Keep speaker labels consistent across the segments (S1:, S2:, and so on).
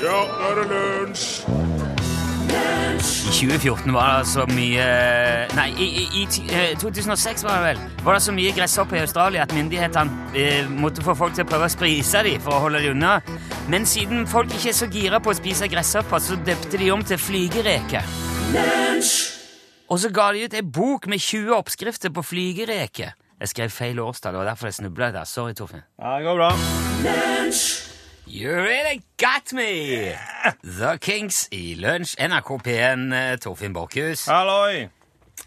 S1: Nå er det lunsj!
S2: 2014 var det så mye eh, Nei, i, i, i ti- eh, 2006 var det vel. Var det så mye gresshopper i Australia at myndighetene eh, måtte få folk til å prøve å spise dem for å holde dem unna. Men siden folk ikke er så gira på å spise gresshopper, så døpte de om til flygereker. Og så ga de ut ei bok med 20 oppskrifter på flygereker. Jeg skrev feil årstall, det var derfor jeg snubla der. Sorry, Torfinn.
S3: Ja, det går bra.
S2: You really got me! The Kings i Lunsj, NRK P1, eh, Torfinn Borchhus.
S3: Halloi!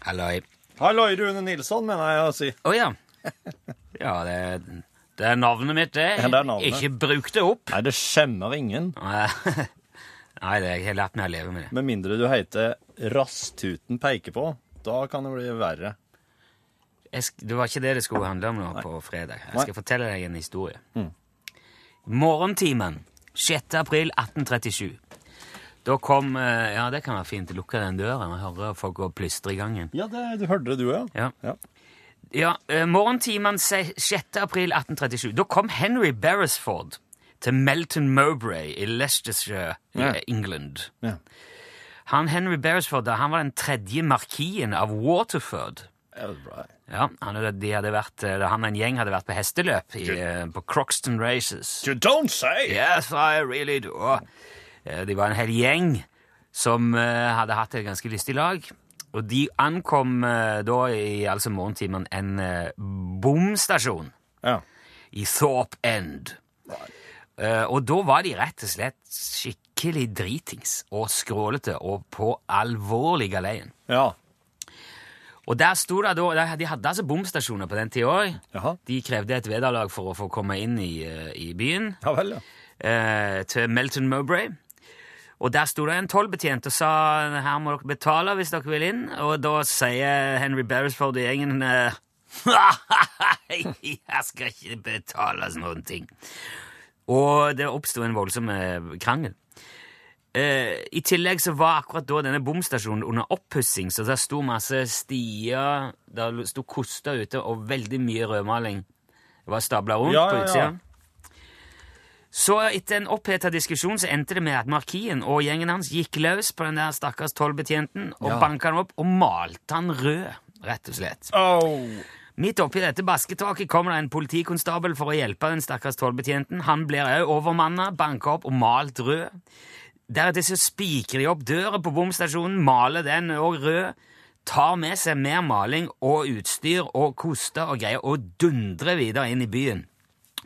S2: Halloi.
S3: Halloi, Rune Nilsson, mener jeg å si.
S2: Å ja. Ja, det, det er navnet mitt, det.
S3: Ja, det er navnet.
S2: Ikke bruk det opp.
S3: Nei, det skjemmer ingen.
S2: Nei, det jeg har lært meg å leve med det.
S3: Med mindre du heter Rasstuten peker på. Da kan det bli verre.
S2: Jeg, sk- det var ikke det det skulle handle om nå på fredag. Jeg
S3: Nei. Mm.
S2: skal fortelle deg en historie. Morgentimen, 6. april 1837. Da kom eh, Ja, det kan være fint. Lukke den døra og høre folk gå og plystre i gangen.
S3: Ja, det, du hørte det, du òg.
S2: Ja.
S3: Ja.
S2: Ja, eh, morgentimen se- 6. april 1837. Da kom Henry Beresford til Melton Mowbray i Leicestershire,
S3: Ja.
S2: i England.
S3: Ja.
S2: Han Henry Beresford da, han var den tredje markien av Waterford.
S3: Alright.
S2: Ja, han, og de hadde vært, eh, han og en gjeng hadde vært på hesteløp i, eh, på Croxton Races.
S3: You don't say!
S2: Yes, I really do. Eh, De var en hel gjeng som eh, hadde hatt et ganske lystig lag. Og de ankom eh, da i altså morgentimen en eh, bomstasjon
S3: Ja.
S2: i Thorpe End. Eh, og da var de rett og slett skikkelig dritings og skrålete og på alvorlig galeien.
S3: ja.
S2: Og der sto det da, de hadde altså bomstasjoner på den tida òg.
S3: Jaha.
S2: De krevde et vederlag for å få komme inn i, eh, i byen,
S3: Ja vel, ja.
S2: eh, til Melton Mowbray. Og der sto det en tollbetjent og sa her må dere betale hvis dere vil inn. Og da sier Henry Beresford i gjengen eh, Jeg skal ikke betale sånne ting. Og det oppsto en voldsom eh, krangel. Eh, I tillegg så var akkurat da denne bomstasjonen under oppussing, så der sto masse stier, der sto koster ute, og veldig mye rødmaling var stabla rundt
S3: Ja,
S2: på
S3: ja,
S2: utsida.
S3: ja.
S2: Så etter en oppheta diskusjon så endte det med at markien og gjengen hans gikk løs på den der stakkars tollbetjenten og
S3: Ja.
S2: banka han opp og malte han rød, rett og slett.
S3: Au!
S2: Midt oppi dette basketaket kommer det en politikonstabel for å hjelpe den stakkars tollbetjenten. Han blir òg overmanna, banka opp og malt rød. Deretter så spikrer de opp døra på bomstasjonen, maler den òg rød, tar med seg mer maling og utstyr og koster og greier og dundrer videre inn i byen.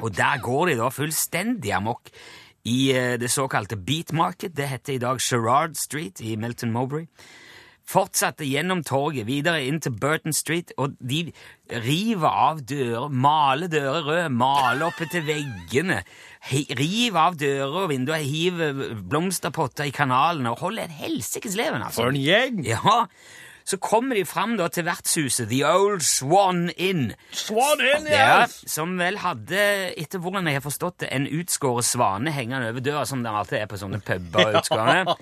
S2: Og der går de da fullstendig amok i eh, det såkalte Beat Market. Det heter i dag Sherard Street i Melton Mowbray. Fortsatte gjennom torget, videre inn til Burton Street, og de river av dører, maler dører røde, maler oppe til veggene, he- river av dører og vinduer, hiver blomsterpotter i kanalene og holder et helsikes leven, altså.
S3: For en gjeng!
S2: Ja, så kommer de fram da til vertshuset The Old Swan Inn.
S3: Swan in,
S2: Ja,
S3: yes!
S2: som vel hadde, etter hvordan jeg har forstått det, en utskåret svane hengende over døra, som det alltid er på sånne puber og utskårene.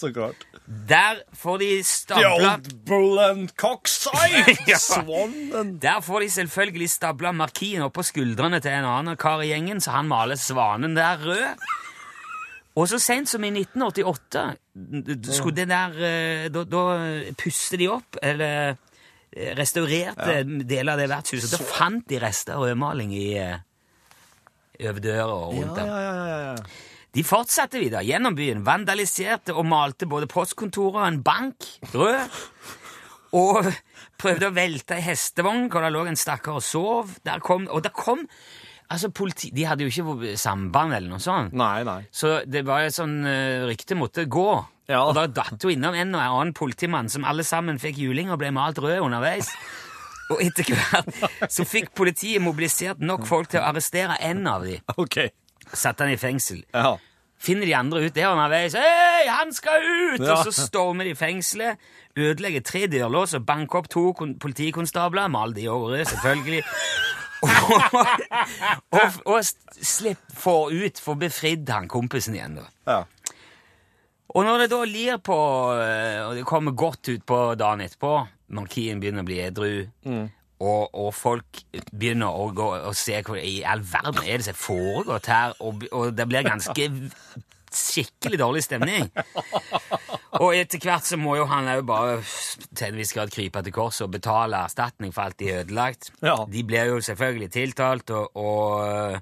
S3: Så klart.
S2: Der får de
S3: The
S2: stabla
S3: old bull and cockside!
S2: Ja.
S3: Swan and...
S2: der får de selvfølgelig stabla markien oppå skuldrene til en annen kar i gjengen, så han maler svanen der rød. Og så sent som i 1988 skulle det der eh, Da, da puste de opp, eller eh, restaurerte deler av det vertshuset. Da fant de rester av rødmaling i eh, over døra og rundt
S3: Ja,
S2: der.
S3: ja, ja, ja, ja.
S2: De fortsatte videre gjennom byen, vandaliserte og malte både postkontoret og en bank rød, og prøvde å velte ei hestevogn hvor det lå en stakkar og sov. Der kom, og der kom altså politi... De hadde jo ikke samband eller noe sånt.
S3: Nei, nei.
S2: Så det var et sånn eh, rykte måtte gå.
S3: Ja.
S2: Og da datt jo innom en og annen politimann som alle sammen fikk juling og ble malt rød underveis. Og etter hvert så fikk politiet mobilisert nok folk til å arrestere en av de.
S3: Ok.
S2: Satte han i fengsel
S3: Ja.
S2: finner de andre ut der underveis. Hei, han skal ut!
S3: Ja.
S2: Og så stormer de fengselet, ødelegger tre dørlås og banker opp to kon- politikonstabler. Mal de over rød, selvfølgelig. og og, og s- slipp får ut, får befridd han kompisen igjen, da.
S3: ja.
S2: Og når det da lir på, eh, og det kommer godt ut på dagen etterpå, markien begynner å bli edru,
S3: Mm.
S2: og, og folk begynner å gå og se hva i all verden er det som er foregått her, og, og det blir ganske blitt skikkelig dårlig stemning. Og etter hvert så må jo han òg bare til en viss grad krype til korset og betale erstatning for alt de har ødelagt.
S3: Ja.
S2: De blir jo selvfølgelig tiltalt, og, og,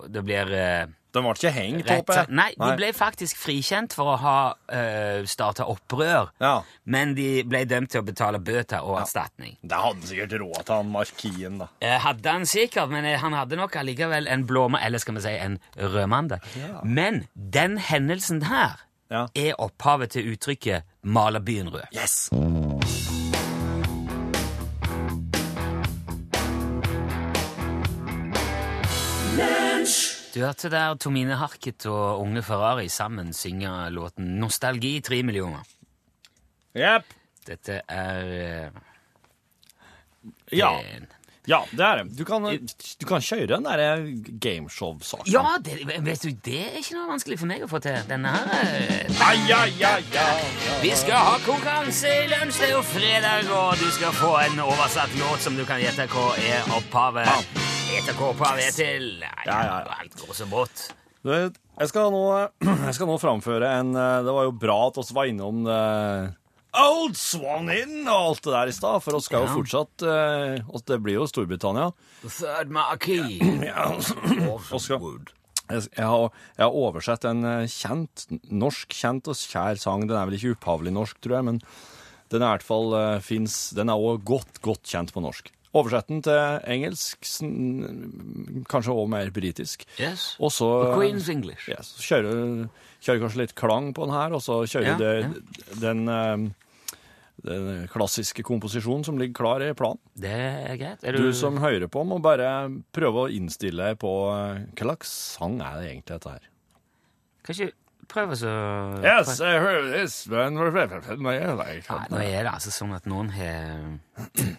S2: og det blir eh,
S3: De ble ikke hengt,
S2: rett
S3: håper jeg.
S2: Nei, de ble faktisk frikjent for å ha uh, starta opprør,
S3: Ja.
S2: men de ble dømt til å betale bøter og erstatning.
S3: Det hadde sikkert råd til han markien, da.
S2: Eh, Hadde han sikkert, men eh, han hadde nok allikevel en blåmandag, eller skal vi si en rødmandag.
S3: Ja.
S2: Men den hendelsen her
S3: Ja.
S2: er opphavet til uttrykket 'maler byen rød'.
S3: Yes!
S2: Du hørte der Tomine Harket og Unge Ferrari sammen synge låten 'Nostalgi tre millioner'.
S1: Jepp.
S2: Dette er eh,
S1: Ja.
S2: en-
S1: ja, det er det.
S3: Du kan, du kan kjøre den der eh, gameshow-saken.
S2: Ja, det, vet du, det er ikke noe vanskelig for meg å få til. Denne her eh,
S1: Ai, ai, ai, ai.
S2: Vi skal ha konkurranse i lunsj, det er jo fredag, og du skal få en oversatt låt som du kan gjette hva er opphavet. Gjette hva opphavet er til. Nei,
S3: Ja, ja, ja.
S2: Alt går så brått.
S3: Du, Jeg skal nå, jeg skal nå framføre en eh, Det var jo bra at oss var innom eh, Old Swan Inn og alt det der i stad, for oss
S2: Ja.
S3: skal jo fortsatt eh, oss- Det blir jo Storbritannia.
S2: Third Marquis.
S3: Oscar. Jeg, jeg, har, jeg har oversett en eh, kjent, norsk kjent og kjær sang. Den er vel ikke opphavlig norsk, tror jeg, men den er i hvert fall eh, finnes, Den er også godt, godt kjent på norsk. Oversett den til engelsk, sn- kanskje også mer britisk.
S2: Yes.
S3: Og så
S2: Queen's English.
S3: ja, så kjører, kjører kanskje litt klang på den her, og så kjører
S2: Ja,
S3: det Den, eh, den klassiske komposisjonen som ligger klar i planen.
S2: Det er greit. Er
S3: Du som hører på, må bare prøve å innstille deg på eh, Hva slags sang er det egentlig dette her?
S2: Kan ikke prøve så
S1: Yes, I heard this, but
S2: Nei, nå er det altså sånn at noen har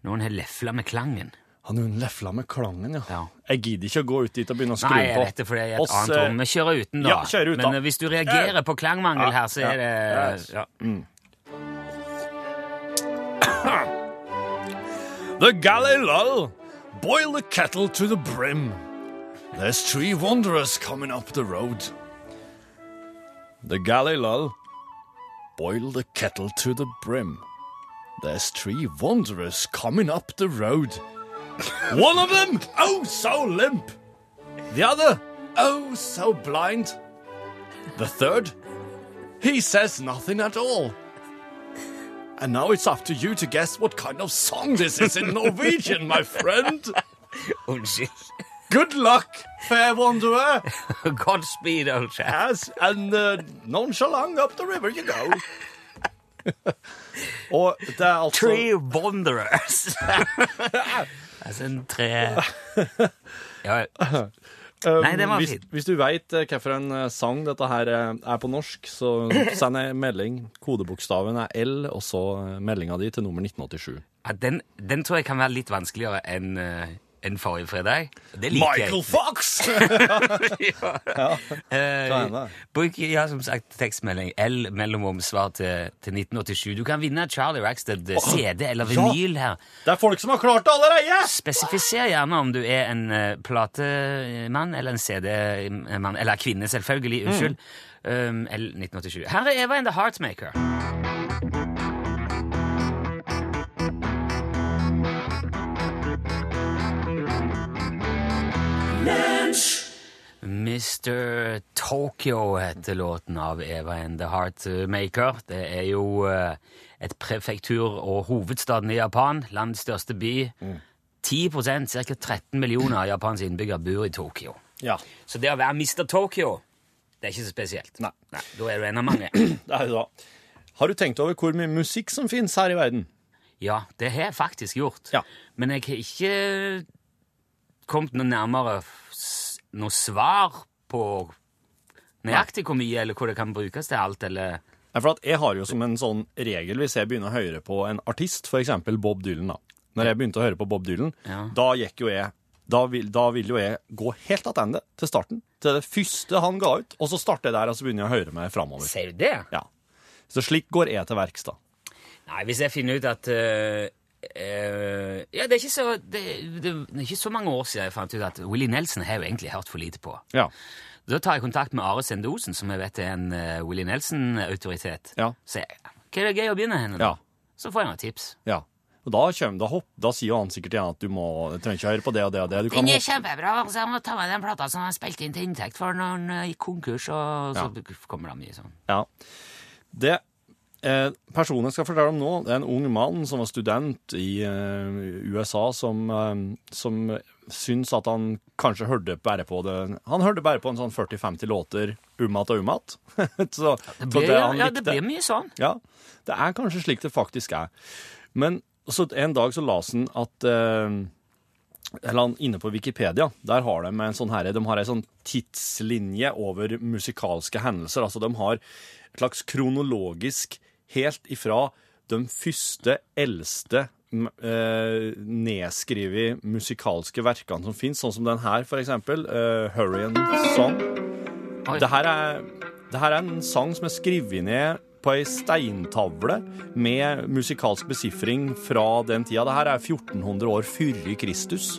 S2: Noen har lefla med klangen.
S3: Han hun lefla med klangen, ja.
S2: Ja.
S3: Jeg gidder ikke å gå ut dit og begynne å skru
S2: Nei, jeg
S3: på.
S2: vet det, for det er et
S3: Oss,
S2: annet
S3: eh,
S2: rom. Vi kjører uten, da.
S3: ja, kjører ut,
S2: Men
S3: da.
S2: eh, hvis du reagerer på klangmangel her, så
S3: ja,
S2: er det
S3: yes.
S2: ja.
S4: Mm.
S1: The galley lull. Boil the kettle to the brim. There's three wanderers coming up the road.
S3: The galley lull. Boil the kettle to the brim. There's three wanderers coming up the road. One of them, oh so limp. The other, oh so blind. The third, he says nothing at all. And now it's up to you to guess what kind of song this is in Norwegian, my friend.
S2: Unnskyld.
S3: Good luck, fair wanderer.
S2: Godspeed, old chap.
S3: ass and uh, nonchalant up the river you go. Og det er altså
S2: Tree Wanderers. altså en tre ja,
S3: um,
S2: Nei, det var
S3: hvis,
S2: fint.
S3: hvis du veit uh, hvilken uh, sang dette her uh, er på norsk, så send ei melding. Kodebokstaven er L, og så uh, meldinga di til nummer 1987.
S2: ja, den, den tror jeg kan være litt vanskeligere enn eh, enn forrige fredag. Det liker
S1: Michael Fox!
S2: jeg. ja.
S3: kan
S2: Eh,
S3: hende.
S2: bruk ja, som sagt tekstmelding L mellomrom svar til, til 1987. Du kan vinne Charlie Rackstead CD eller vinyl her.
S3: Det er folk som har klart det allerede!
S2: Spesifiser gjerne om du er en eh, platemann eller en CD-mann. Eller kvinne,
S3: Mm.
S2: selvfølgelig. Unnskyld. Um, L1987. Her er Eva and The Heartmaker. Mr. Tokyo heter låten av Eva and The Heartmaker. Det er jo eh, et prefektur og hovedstaden i Japan, landets største by.
S3: Mm.
S2: 10 ca. 13 millioner av Japans innbyggere bor i Tokyo.
S3: Ja,
S2: Så det å være Mr. Tokyo, det er ikke så spesielt.
S3: Nei.
S2: da er du en av mange.
S3: det er jo da. Har du tenkt over hvor mye musikk som finnes her i verden?
S2: Ja, det har jeg faktisk gjort.
S3: Ja.
S2: Men jeg har ikke kommet noe nærmere s- noe svar på nøyaktig hvor mye eller hvor det kan brukes til alt, eller
S3: Nei, for at jeg har jo som en sånn regel, hvis jeg begynner å høre på en artist, for eksempel Bob Dylan da. Når jeg begynte å høre på Bob Dylan,
S2: Ja.
S3: da gikk jo jeg, da vil, da vil jo jeg gå helt attende til starten, til det første han ga ut, og så starter jeg der, og så begynner jeg å høre meg fremover.
S2: Sier du det?
S3: Ja. Så slik går jeg til verks da.
S2: Nei, hvis jeg finner ut at eh, eh, Ja, det er, ikke så, det, det, det er ikke så mange år siden jeg fant ut at Willy Nelson har jeg jo egentlig hørt for lite på.
S3: Ja.
S2: Da tar jeg kontakt med Are Sende Osen, som jeg vet er en eh, Willy Nelson-autoritet.
S3: Ja.
S2: Så jeg, hva er det gøy å begynne henne?
S3: Ja.
S2: Så får jeg noen tips.
S3: Ja. Og da, kommer, da, hopp, da sier jo han sikkert igjen at du må Du trenger ikke høre på det og det og det. Du kan
S2: Den er
S3: hoppe.
S2: kjempebra! Så jeg må ta med den plata som han spilte inn til inntekt for når han eh, gikk konkurs, og så kommer det mye sånn.
S3: Ja. Det eh, personen jeg skal fortelle om nå, det er en ung mann som var student i eh, USA, som, eh, som syns at han kanskje hørte bare på det Han hørte bare på en sånn 40-50 låter um igjen og um igjen. så, så
S2: Det, ja,
S3: han
S2: ja, det
S3: likte-
S2: blir mye sånn.
S3: Ja, det er kanskje slik det faktisk er. Men så en dag så las han at eh, Eller han inne på Wikipedia, der har de en sånn her, de har en sånn tidslinje over musikalske hendelser. Altså de har et slags kronologisk helt ifra de første, eldste uh, nedskrevet musikalske verkene som fins, sånn som den her, for eksempel. Uh, Hurrien Song.
S2: Oi.
S3: Det her, er, det her er en sang som er skrevet ned på ei steintavle med musikalsk besifring fra den tida. Det her er 1400 år før Kristus.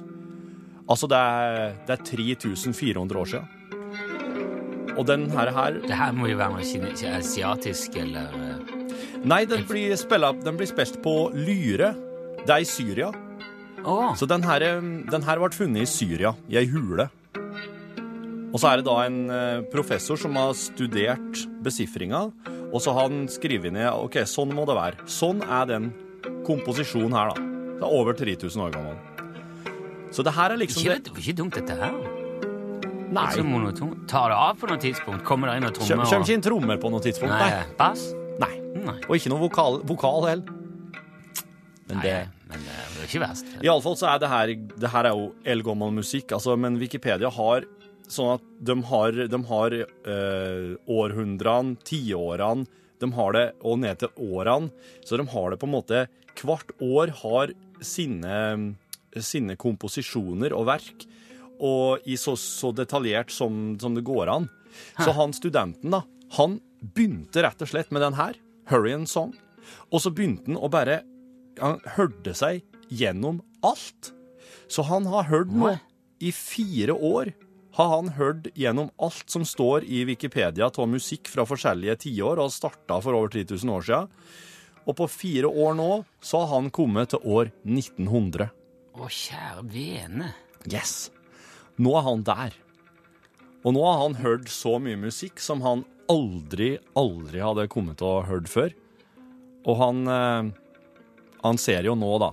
S3: Altså, det er, det er 3400 år siden. Og den her, her
S2: Det her må jo være noe kine- kine- asiatisk, eller eh,
S3: Nei, den blir, spilla, den blir spilt på lyre. Det er i Syria.
S2: Å!
S3: Så den her, eh, den her ble funnet i Syria, i ei hule. Og så er det da en eh, professor som har studert besifringa, og så har han skrevet ned OK, sånn må det være. Sånn er den komposisjonen her, da. Det er over 3000 år gammel. Så det her er liksom
S2: ikke,
S3: det
S2: det var ikke dumt, dette her.
S3: Nei.
S2: Ikke så monotont. Tar det av på noe tidspunkt? Kommer det inn og
S3: Kjem,
S2: trommer?
S3: kommer ikke inn trommer på noe tidspunkt,
S2: Nei,
S3: nei.
S2: bass?
S3: nei.
S2: Nei.
S3: Og ikke noe vokal, vokal heller. Men det
S2: Nei, men eh, det er ikke verst.
S3: Iallfall så er det her Det her er jo eldgammel musikk, altså, men Wikipedia har sånn at de har, de har eh, århundrene, tiårene, de har det og ned til årene. Så de har det på en måte Hvert år har sine, sine komposisjoner og verk, og i så, så detaljert som, som det går an. Så han studenten, da, han begynte rett og slett med den her, Hurrian Song, og så begynte han å bare han hørte seg gjennom alt. Så han har hørt nå i fire år. Har han hørt gjennom alt som står i Wikipedia av musikk fra forskjellige tiår, og starta for over 3000 år siden. Og på fire år nå så har han kommet til år 1900.
S2: Å, kjære vene.
S3: Yes! Nå er han der. Og nå har han hørt så mye musikk som han aldri, aldri hadde kommet til å ha hørt før. Og han, eh, han ser jo nå, da,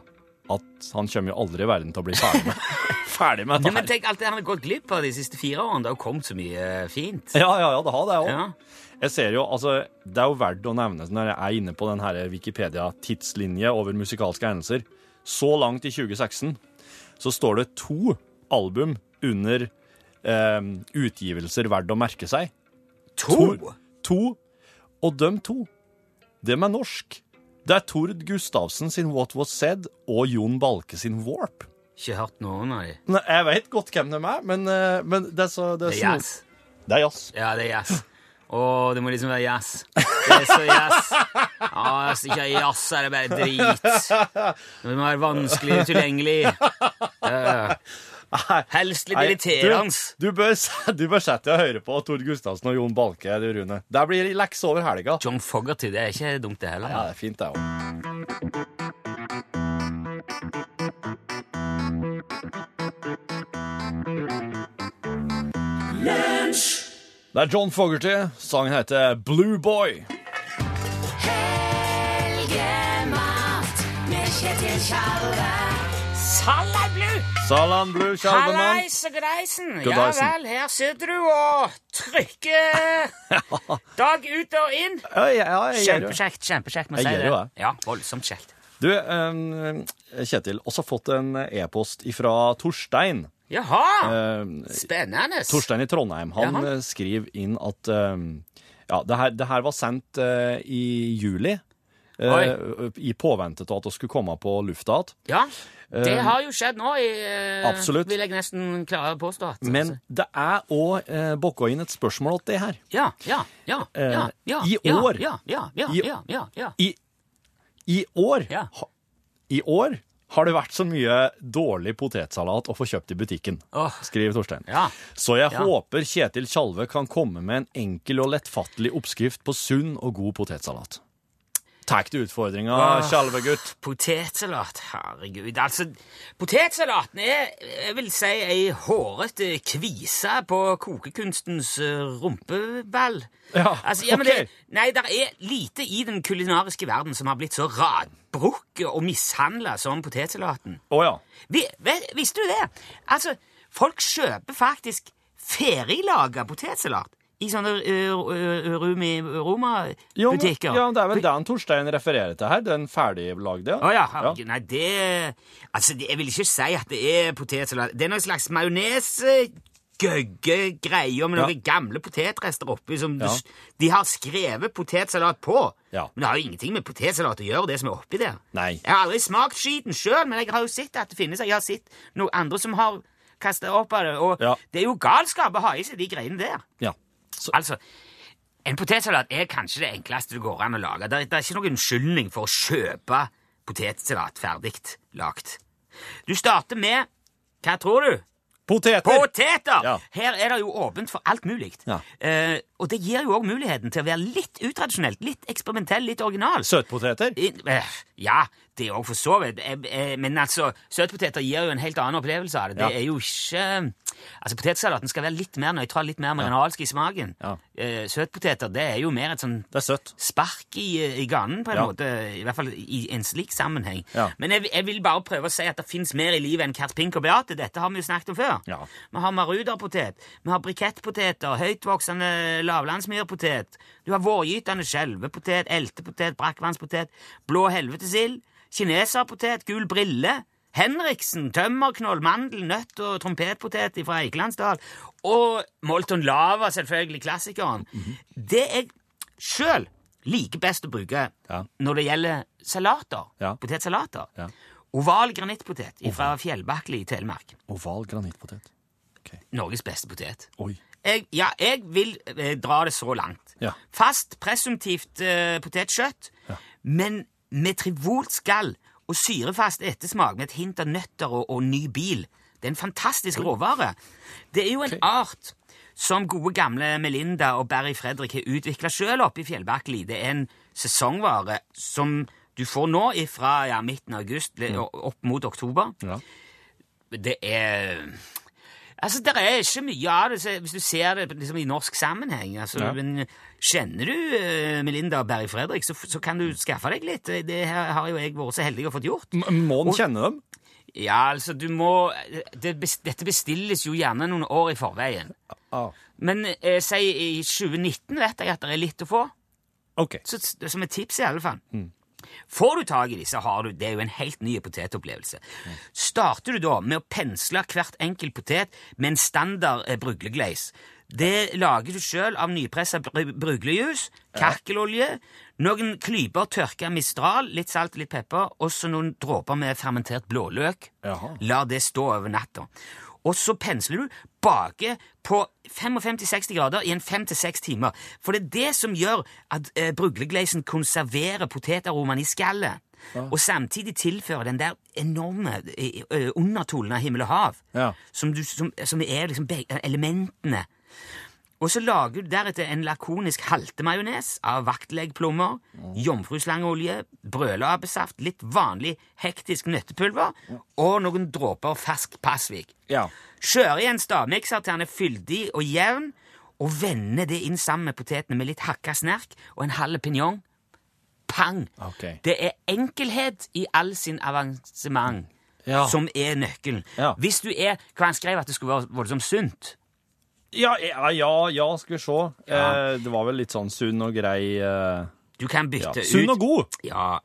S3: at han kommer jo aldri i verden til å bli ferdig med, ferdig med
S2: Ja, men
S3: det her.
S2: tenk alt det han har gått glipp av de siste fire årene. Det har jo kommet så mye eh, fint.
S3: Ja, ja, ja, det har det òg.
S2: Ja.
S3: Jeg ser jo, altså, Det er jo verdt å nevne når jeg er inne på den her Wikipedia-tidslinje over musikalske hendelser. Så langt i 2016 så står det to album under eh, utgivelser verdt å merke seg.
S2: To!
S3: To, og dem to, dem er norsk. Det er Tord Gustavsen sin What Was Said og Jon Balke sin Warp.
S2: Ikke hørt noen av de.
S3: Nei, jeg vet godt hvem de er, men, eh, men det er så
S2: Det er
S3: så-
S2: jazz.
S3: Det er jazz.
S2: Ja, det er jazz. Å, det må liksom være jazz. Det er så jazz. Ja, Hvis det ikke er jazz, så er det bare drit. Det må være vanskelig utilgjengelig. Ja, ja. Helst litt
S3: Nei,
S2: irriterende.
S3: Du, du, bør, s- du bør sette deg og høre på Tord Gustavsen og Jon Balke, du, Rune. Der blir det lekse over helga.
S2: John Fogerty, det er ikke dumt, det heller.
S3: Ja, det er fint, det òg. Det er John Fogerty. Sangen heter Blue Boy.
S5: Helgemat med Kjetil Tjalve.
S2: Sallai Blue!
S3: Salam Blue, Kjalvemann.
S2: Hallais og greisen! Ja
S3: Goddaisen.
S2: vel, her sitter du og trykker dag ut og inn.
S3: Ja, ja, jeg gjør jo-
S2: Kjempekjekt, kjempekjekt. må
S3: Jeg
S2: si
S3: gjør
S2: det.
S3: jo det.
S2: Ja, voldsomt kjekt.
S3: Du, eh, Kjetil, også fått en e-post ifra Torstein.
S2: Jaha!
S3: Eh,
S2: Spennende.
S3: Torstein i Trondheim han
S2: Jaha.
S3: eh, skriver inn at eh, ja, det, her, det her var sendt eh, i juli. eh,
S2: Oi.
S3: I påvente av at det skulle komme på Eh, lufta igjen.
S2: Ja, det har jo skjedd nå, i, eh,
S3: Absolutt.
S2: vil jeg nesten klare å påstå. At,
S3: Men det er òg uh, bokka inn et spørsmål til det her.
S2: ja, ja, ja, ja,
S3: Eh,
S2: ja,
S3: i
S2: ja,
S3: år.
S2: Ja, ja, ja,
S3: I-
S2: ja, ja, ja.
S3: I år
S2: Ja.
S3: ha, I år har det vært så mye dårlig potetsalat å få kjøpt i butikken,
S2: Åh.
S3: skriver Torstein.
S2: Ja.
S3: Så jeg
S2: Ja.
S3: håper Kjetil Tjalve kan komme med en enkel og lettfattelig oppskrift på sunn og god potetsalat. Takk til utfordringa, Tjalve-gutt.
S2: Ah. Potetsalat, herregud. Altså, potetsalaten er, jeg vil si, ei hårete kvise på kokekunstens eh, rumpeball.
S3: Ja,
S2: altså, ja, men
S3: ok.
S2: det, Nei, det er lite i den kulinariske verden som har blitt så radbrukket og mishandla som potetsalaten.
S3: Å ja.
S2: Vi, vet, visste du det? Altså, folk kjøper faktisk ferdiglaga potetsalat i sånne eh, eh, Rumi
S3: Jo, men-
S2: Roma-butikker.
S3: Ja, men det er vel den Torstein refererer til her. Den ferdiglagde.
S2: Å ja, herregud, nei, det Altså, det, jeg vil ikke si at det er potetsalat. Det er noen slags majones Gøgge greier med
S3: Ja.
S2: noen gamle potetrester oppi som du,
S3: Ja.
S2: s- de har skrevet potetsalat på.
S3: Ja.
S2: Men det har jo ingenting med potetsalat å gjøre, det som er oppi der.
S3: Nei.
S2: Jeg har aldri smakt skiten sjøl, men jeg har jo sett at det finnes. Jeg har sett noen andre som har kasta opp av det, og
S3: Ja.
S2: det er jo galskap å ha i seg de greiene der.
S3: Ja.
S2: Altså, en potetsalat er kanskje det enkleste det går an å lage. Det er, det er ikke noen unnskyldning for å kjøpe potetsalat ferdig lagt. Du starter med Hva tror du?
S3: Poteter!
S2: Poteter!
S3: Ja.
S2: Her er det jo åpent for alt mulig.
S3: Ja.
S2: Eh, og det gir jo òg muligheten til å være litt utradisjonelt, litt eksperimentell, litt original.
S3: Søtpoteter.
S2: I- eh, Ja, det er òg for så vidt. Eh, eh, Men altså, søtpoteter gir jo en helt annen opplevelse av det. Det
S3: Ja.
S2: er jo ikke Altså, Potetsalaten skal være litt mer nøytral, litt mer marinalsk i smaken.
S3: Ja.
S2: Eh, Søtpoteter det er jo mer et sånn
S3: Det er søtt.
S2: spark i, i ganen, på en
S3: Ja.
S2: måte. I hvert fall i en slik sammenheng.
S3: Ja.
S2: Men jeg, jeg vil bare prøve å si at det fins mer i livet enn Kert Pink og Beate. Dette har vi jo snakket om før.
S3: Ja.
S2: Vi har maruderpotet, vi har brikettpoteter, høytvoksende lavlandsmyrpotet, du har vårgytende skjelvepotet, eltepotet, brakkvannspotet, blå helvetesild, kineserpotet, gul brille, Henriksen, tømmerknoll, mandel, nøtt og trompetpotet fra Eikelandsdal, og Molton Lava, selvfølgelig klassikeren.
S3: Mhm.
S2: Det jeg sjøl liker best å bruke
S3: Ja.
S2: når det gjelder salater,
S3: Ja.
S2: potetsalater,
S3: Ja.
S2: oval granittpotet fra Fjellbakli i Telemark.
S3: Oval granittpotet.
S2: Norges beste potet.
S3: Oi.
S2: Jeg, ja, jeg vil eh, dra det så langt.
S3: Ja.
S2: Fast, presumptivt eh, potetskjøtt, men med trivolt skall og syrefast ettersmak med et hint av nøtter og, og ny bil. Det er en fantastisk råvare. Det er jo en art som gode gamle Melinda og Barry Fredrik har utvikla sjøl oppe i Fjellbakkeli. Det er en sesongvare som du får nå fra ja, midten av august le- opp mot oktober
S3: Ja.
S2: det er Altså, det er ikke mye av det, så hvis du ser det liksom, i norsk sammenheng. Altså,
S3: Ja.
S2: men, kjenner du eh, Melinda og Berry Fredrik, så, så kan du skaffe deg litt. Det her har jo jeg vært så heldig å fått gjort.
S3: M- Må en kjenne dem?
S2: Ja, altså, du må det, bes- Dette bestilles jo gjerne noen år i forveien.
S3: Ah.
S2: Men eh, si i 2019 vet jeg at det er litt å få.
S3: OK. Mm.
S2: Så, som et tips, i alle fall. Får du tak i disse, har du, det er jo en helt ny potetopplevelse. Starter du da med å pensle hvert enkelt potet med en standard eh, bruglegleis. Det lager du sjøl av nypressa br bruglejus, kakkelolje, noen klyper tørka mistral, litt salt og litt pepper, og så noen dråper med fermentert blåløk.
S3: Jaha.
S2: La det stå over natta. Og så pensler du bake på 55-60 grader i en 5-6 timer. For det er det som gjør at eh, bruglegleisen konserverer potetaromaen i skallet. Og samtidig tilfører den der enorme eh, eh, undertonen av himmel og hav,
S3: Ja.
S2: som, du, som, som er liksom be- elementene. Og så lager du deretter en lakonisk haltemajones av vaktleggplommer,
S3: Mm.
S2: jomfruslangeolje, brølapesaft, litt vanlig hektisk nøttepulver og noen dråper fersk passvik.
S3: Ja.
S2: Kjør i en stavmikser til den er fyldig og jevn, og vende det inn sammen med potetene med litt hakka snerk og en halv pinjong. Pang!
S3: Ok.
S2: Det er enkelhet i all sin avansement
S3: Ja.
S2: som er nøkkelen.
S3: Ja.
S2: Hvis du er Hva han skrev at det skulle være voldsomt sunt?
S3: Ja, eh, ja, ja, ja, skal vi se.
S2: Ja.
S3: Eh, det var vel litt sånn sunn og grei eh,
S2: Du kan
S3: ja.
S2: bytte ut
S3: Sunn og god!
S2: Ja,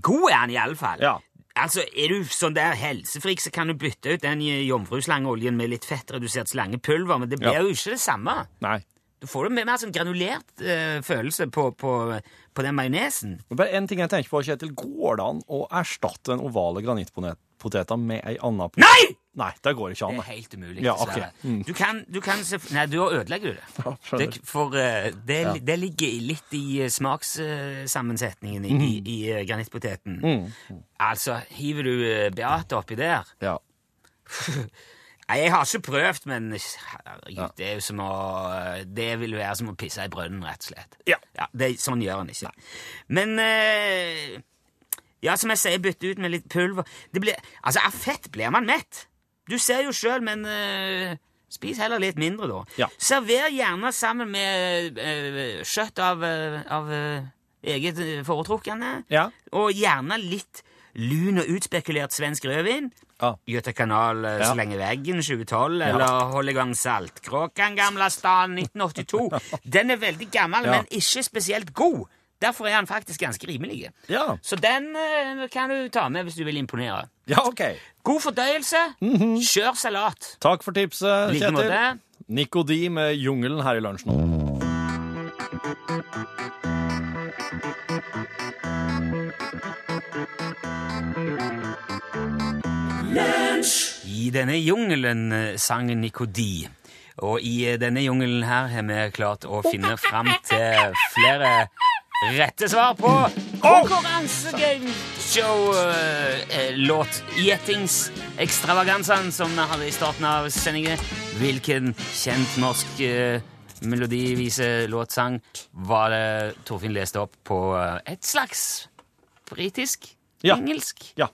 S2: god er han i alle fall.
S3: Ja.
S2: Altså, Er du sånn der helsefrik, så kan du bytte ut den jomfruslangeoljen med litt fettredusert slangepulver, men det blir
S3: Ja.
S2: jo ikke det samme.
S3: Nei.
S2: Du får jo mer, mer sånn granulert eh, følelse på, på, på den majonesen.
S3: Men bare en ting jeg tenker på, Kjetil. Går det an å erstatte den ovale granittpoteta med ei anna pot-
S2: Nei!
S3: Nei, det går
S2: Det
S3: ikke an.
S2: er
S3: nei.
S2: helt umulig.
S3: Ja, ok. Mm.
S2: dessverre. Du kan, du kan selvf- Nei, du ødelegger jo det. det for eh, det, det ligger litt i eh, smakssammensetningen
S3: Mhm.
S2: i, i, i eh, granittpoteten.
S3: Mm.
S2: Altså, hiver du eh, Beate oppi der
S3: Ja.
S2: Nei, jeg har ikke prøvd, men herregud, det er jo som å eh, Det vil være som å pisse i brønnen, rett og slett.
S3: Ja.
S2: det, sånn gjør en ikke. Men eh, Ja, som jeg sier, bytte ut med litt pulver. Det blir, altså, av fett blir man mett. Du ser jo sjøl, men eh, spis heller litt mindre, da.
S3: Ja.
S2: Server gjerne sammen med eh, kjøtt av, eh, av eh, eget eh, foretrukne,
S3: Ja.
S2: og gjerne litt lun og utspekulert svensk rødvin.
S3: Ja.
S2: Göta kanal eh,
S3: Ja.
S2: slenger veggen 2012, eller hold i gang Saltkråkan, gamla stan 1982. Den er veldig gammel,
S3: Ja.
S2: men ikke spesielt god. Derfor er han faktisk ganske rimelig.
S3: Ja.
S2: Så den eh, kan du ta med hvis du vil imponere.
S3: ja, ok. Mhm.
S2: God fordøyelse. Kjør salat.
S3: Takk for tipset,
S2: I like
S3: Kjetil.
S2: måte.
S3: Nico D med Jungelen her i lunsjen.
S2: I denne jungelen eh, sang Nikodi. Og i eh, denne jungelen her har vi klart å finne fram til flere rette svar på eh, konkurransegame-show-låt-gjetings-ekstravagansene som vi hadde i starten av sendingen. Hvilken kjent norsk eh, melodiviselåtsang var det Torfinn leste opp på eh, et slags britisk?
S3: Ja.
S2: Engelsk?
S3: Ja.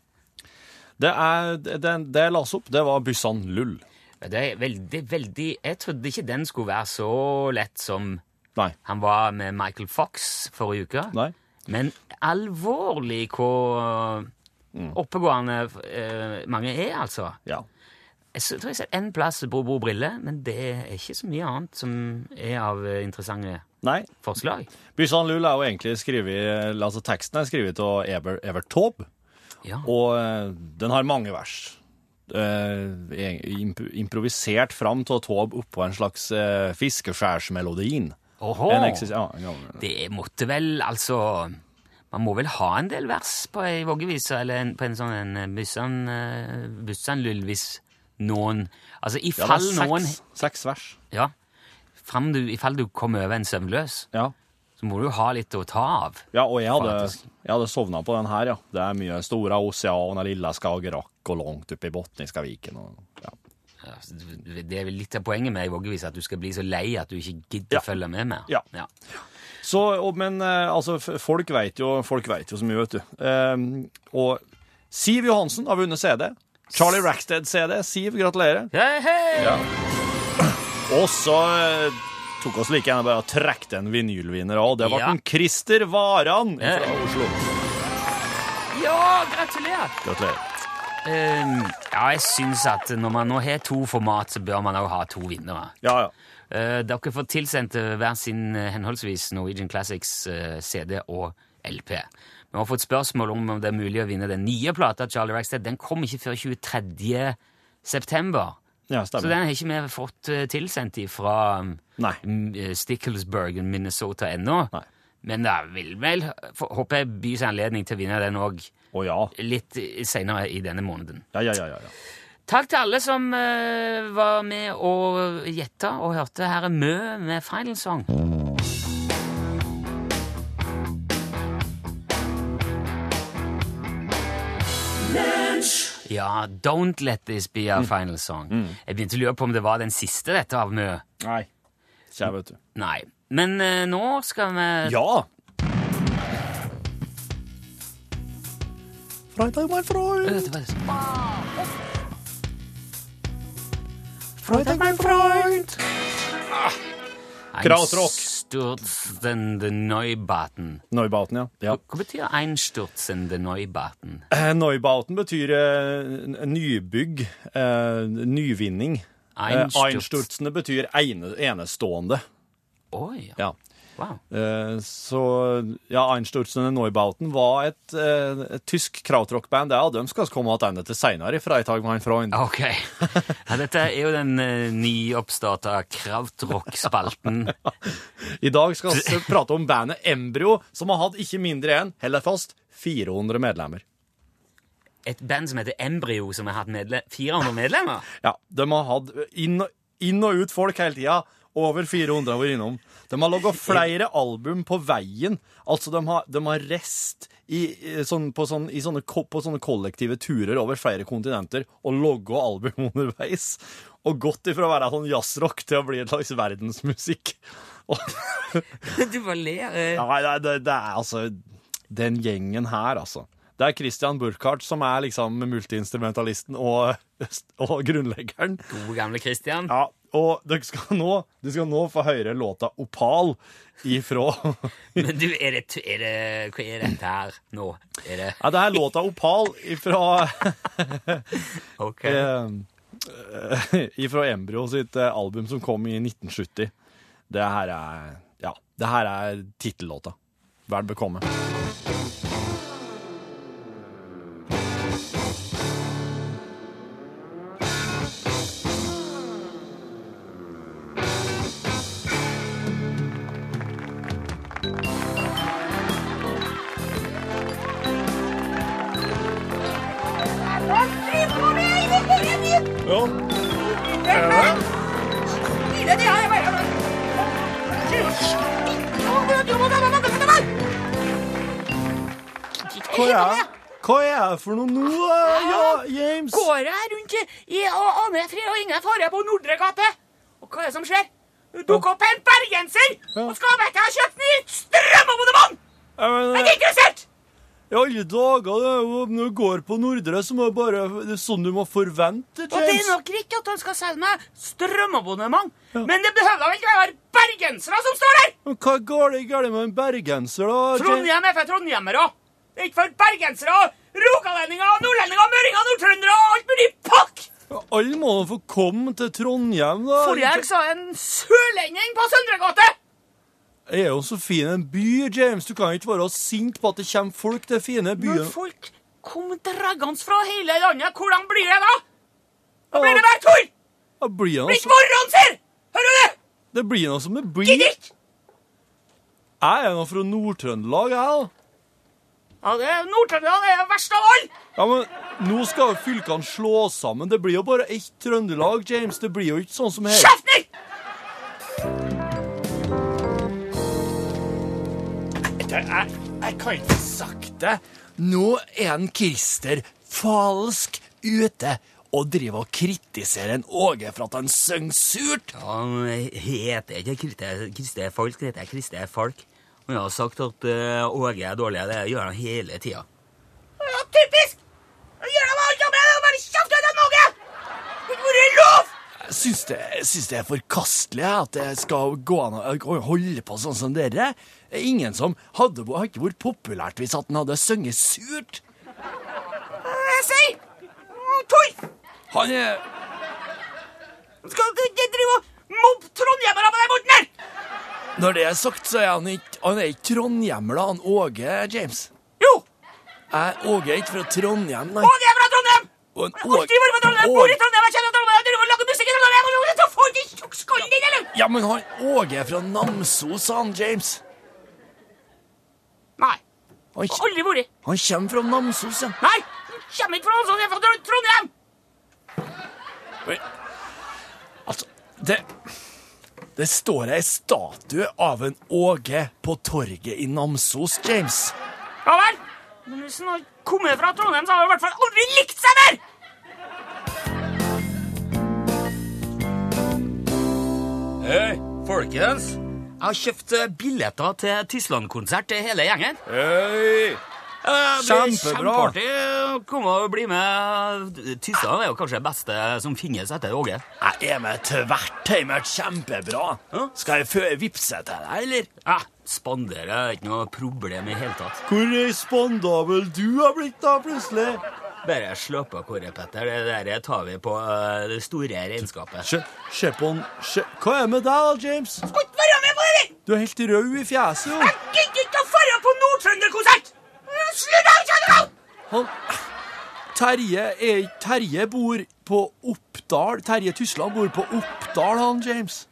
S3: Det, er, det, det- det jeg las opp, det var Byssan Lull.
S2: Det er veldig, veldig Jeg trodde ikke den skulle være så lett som
S3: Nei.
S2: han var med Michael Fox forrige uke.
S3: Nei.
S2: Men alvorlig hvor oppegående eh, mange er, altså.
S3: Mm. Ja.
S2: Jeg s- tror jeg har sett én plass Bro Bro Brille, men det er ikke så mye annet som er av eh, interessante
S3: Nei.
S2: forslag.
S3: Byssan Lull er jo egentlig skrevet Altså, teksten er skrevet av Eber, Evert Taube,
S2: Ja.
S3: og eh, den har mange vers. Eh, eng- imp improvisert fram av Taube oppå en slags uh, fiskeskjærsmelodien.
S2: Oho.
S3: En eksis- ja, en gammel-
S2: Det måtte vel, altså Man må vel ha en del vers på ei voggevise, eller en, på en sånn en eh, Bussan, eh, bussan Lull, hvis noen Altså,
S3: ja, det
S2: ifall
S3: er
S2: noen
S3: seks, seks vers.
S2: Ja. Fram du, ifall du kommer over en søvnløs,
S3: Ja.
S2: så må du ha litt å ta av.
S3: Ja, og jeg hadde,
S2: Faktisk.
S3: jeg hadde sovna på den her, ja. Det er mye store oseaner, lilla Skagerrak og langt oppe i Botniskaviken. Og, ja.
S2: Ja, så Det det er vel litt av poenget med ei voggevise, at du skal bli så lei at du ikke gidder
S3: Ja.
S2: å følge med mer.
S3: Ja. Så, og, men eh, altså, f- folk vet jo, folk vet jo så mye, vet du. Ehm, og Siv Johansen har vunnet CD. Charlie Rackstead CD. Siv, gratulerer.
S2: Hei, hei!
S3: Og så eh, tok oss like gjerne bare og trekte en vinylvinner òg. Det var
S2: Ja.
S3: den Christer Varan
S2: Ja.
S3: fra Oslo.
S2: ja gratulerer!
S3: Gratulerer.
S2: Ehm, ja, jeg syns at når man nå har to format, så bør man òg ha to vinnere.
S3: Ja, ja.
S2: Eh, dere får tilsendt eh, hver sin eh, henholdsvis Norwegian Classics eh, CD og LP. Vi har fått spørsmål om om det er mulig å vinne den nye plata til Charlie Rackstead. Den kom ikke før 23. september.
S3: ja
S2: Så
S3: stemmer.
S2: den har ikke vi fått eh, tilsendt um, fra
S3: Nei.
S2: Sticklesburg, eh, Minnesota ennå.
S3: Nei.
S2: Men det vil vel, for- håper jeg, by seg anledning til å vinne den òg
S3: Å ja.
S2: litt seinere i denne måneden.
S3: Ja, ja, ja. ja, ja.
S2: Takk til alle som eh, var med og gjetta og hørte. Her er Mø med Final Song. Ja, Don't Let This Be Our Final Song.
S3: Mm.
S2: Jeg begynte å lure på om det var den siste dette av Mø.
S3: Nei. Kjære, vet du.
S2: Nei. Men eh, nå skal vi
S3: Ja! Freitag, mein Freund.
S2: Vet du hva det er?
S3: Freitag, mein Freund.
S2: Ein
S3: Krautrock.
S2: Stürzende Neubaten.
S3: Neubauten, ja. ja.
S2: Hva betyr einstürzende Neubaten?
S3: Eh, Neubauten betyr eh, n- nybygg, eh, nyvinning. Eh,
S2: Einsturz.
S3: Einsturzende betyr ene, enestående.
S2: Oi,
S3: Ja.
S2: wow.
S3: Eh, så ja, Einsturzende Neubauten var et, eh, et tysk krautrockband. Ja, de skal vi komme tilbake til seinere. Freitag, mein Freund.
S2: Ok. Ja, dette er jo den uh, nyoppstarta krautrock-spalten.
S3: I dag skal vi prate om bandet Embryo, som har hatt ikke mindre enn, hold deg fast, 400 medlemmer.
S2: et band som heter Embryo, som har hatt medle 400 medlemmer.
S3: Ja, De har hatt inn, og- inn og ut folk hele tida. Over 400 har vært innom. De har laga flere album på veien. Altså, de har, de har reist i, eh, sånn, på, sånn, i sånne, ko- på sånne kollektive turer over flere kontinenter og logga album underveis. Og gått ifra å være sånn jazzrock til å bli et slags verdensmusikk. Og,
S2: Du bare ler. eh.
S3: nei, nei, det, det er altså Den gjengen her, altså. Det er Christian Burkhardt som er liksom multiinstrumentalisten og, og grunnleggeren.
S2: Gode, gamle Christian.
S3: Ja, og dere skal nå, du skal nå få høre låta Opal ifra Ja,
S2: Men du, er det, t- er det Hva er dette her nå? Er det
S3: det er låta Opal ifra
S2: OK?
S3: eh, Ifra Embryo sitt eh, album som kom i 1970. Det her er Ja, det her er tittellåta. Vær bekomme. Hva er hva er det for noe nå, eh, ja, James?
S6: går jeg rundt i, i og aner fred og ingen fare på Nordre gate. Og hva er det som skjer? Det dukker opp en bergenser og skal vite at jeg har kjøpt nytt strømabonnement!
S3: Ja, men,
S6: Jeg
S3: eh,
S6: er ikke interessert!
S3: I alle dager, det er jo, når du går på Nordre, så må det bare Det er sånn du må forvente,
S6: Og det er
S3: James.
S6: nok riktig at han skal selge meg strømabonnement, men det behøver da vel ikke være bergensere som står der!
S3: Men Hva går det galt med en bergenser, da? James?
S6: Trondheim er for trondhjemmere. Det er ikke for bergensere og rogalendinger og nordlendinger og møringer og nordtrøndere og alt mulig pakk!
S3: Alle må da få komme til Trondheim, da.
S6: Forrige helg sa en sørlending på Søndregate!
S3: Det er jo så fin en by, James. Du kan ikke være sint på at det kommer folk til fine byer.
S6: Når folk kommer draggende fra hele landet, hvordan blir det da? Da blir det bare tull!
S3: Det blir noe
S6: Blir ikke
S3: som-
S6: morgenen sier! Hører du det?
S3: det blir noe som det blir.
S6: Gidd
S3: Jeg
S6: ikke!
S3: er nå fra Nord-Trøndelag, jeg. da.
S6: Ja, det er Nord-Trøndelag det er verst av alle!
S3: Ja, men nå skal jo fylkene slå sammen. Det blir jo bare ett Trøndelag, James. Det blir jo ikke sånn som her.
S6: Kjeften din!
S3: Jeg, kan ikke få sagt det. Nå er en Christer falsk ute og driver og kritiserer en Åge for at han synger surt.
S2: Han heter ikke Kriste- Kriste Falk, han heter Kriste Falk. Og jeg har sagt at eh, Åge er dårlig, det gjør han hele tida.
S6: Ja, typisk! Da gjør de alt jobben, og bare kjefter til Norge! Det kunne vært lov!
S3: syns det, jeg syns det er forkastelig jeg, at det skal gå an å å holde på sånn som dere. Det er Ingen som hadde, hadde ikke vært populært hvis at han hadde sunget surt.
S6: Jeg sier Eh, mm, tull!
S3: Han er
S6: Skal du ikke drive og mobbe trondhjemmere på den måten her?
S3: Når det er sagt, så er han ikke Han er ikke trondhjemmer, da, han Åge James.
S6: Jo!
S3: Jeg, Åge er ikke fra Trondheim, nei.
S6: Og det er fra Trondheim!
S3: Og en
S6: Jeg orker ikke være med Trondheim, jeg bor i Trondheim, jeg kjenner Trondheim, jeg driver og lager musikk i Trondheim, og så får de tjukkskallen din, eller?
S3: Ja, men han Åge er fra Namsos, han James.
S6: Nei,
S3: Han, k-
S6: aldri vært.
S3: han kommer fra Namsos, ja.
S6: Nei, jeg kommer ikke fra Hansson, jeg er fra Tr- Trondheim.
S3: Men, Altså, det Det står ei statue av en Åge på torget i Namsos, James.
S6: Ja vel, men hvis han har kommet fra Trondheim, så har han i hvert fall aldri likt seg der.
S2: Hei, folkens! Jeg har kjøpt eh, billetter til Tyskland-konsert til hele gjengen.
S3: Hei!
S2: Eh, Det blir
S3: Kjempebra.
S2: Kjempeartig å komme og bli med. Tyskland er jo kanskje det beste som finnes etter Åge.
S3: Jeg er med tvert, jeg er med kjempebra.
S2: Ja.
S3: Skal jeg fø- vippse til deg, eller?
S2: Ja, Spandere er ikke noe problem i hele tatt.
S3: Hvor respondabel du har blitt da, plutselig.
S2: Bare slapp av, Kåre Petter. Det der tar vi på eh, det store regnskapet.
S3: Se, se på han se. Hva er med deg, da, James?
S6: Skal ikke være med på det der.
S3: Du er helt rød i fjeset, jo.
S6: Jeg gidder ikke å fare på Nord-Trønder-konsert. Slutt av, kjenner
S3: Han Terje, er, Terje bor på Oppdal. Terje Tysland bor på Oppdal, han, James.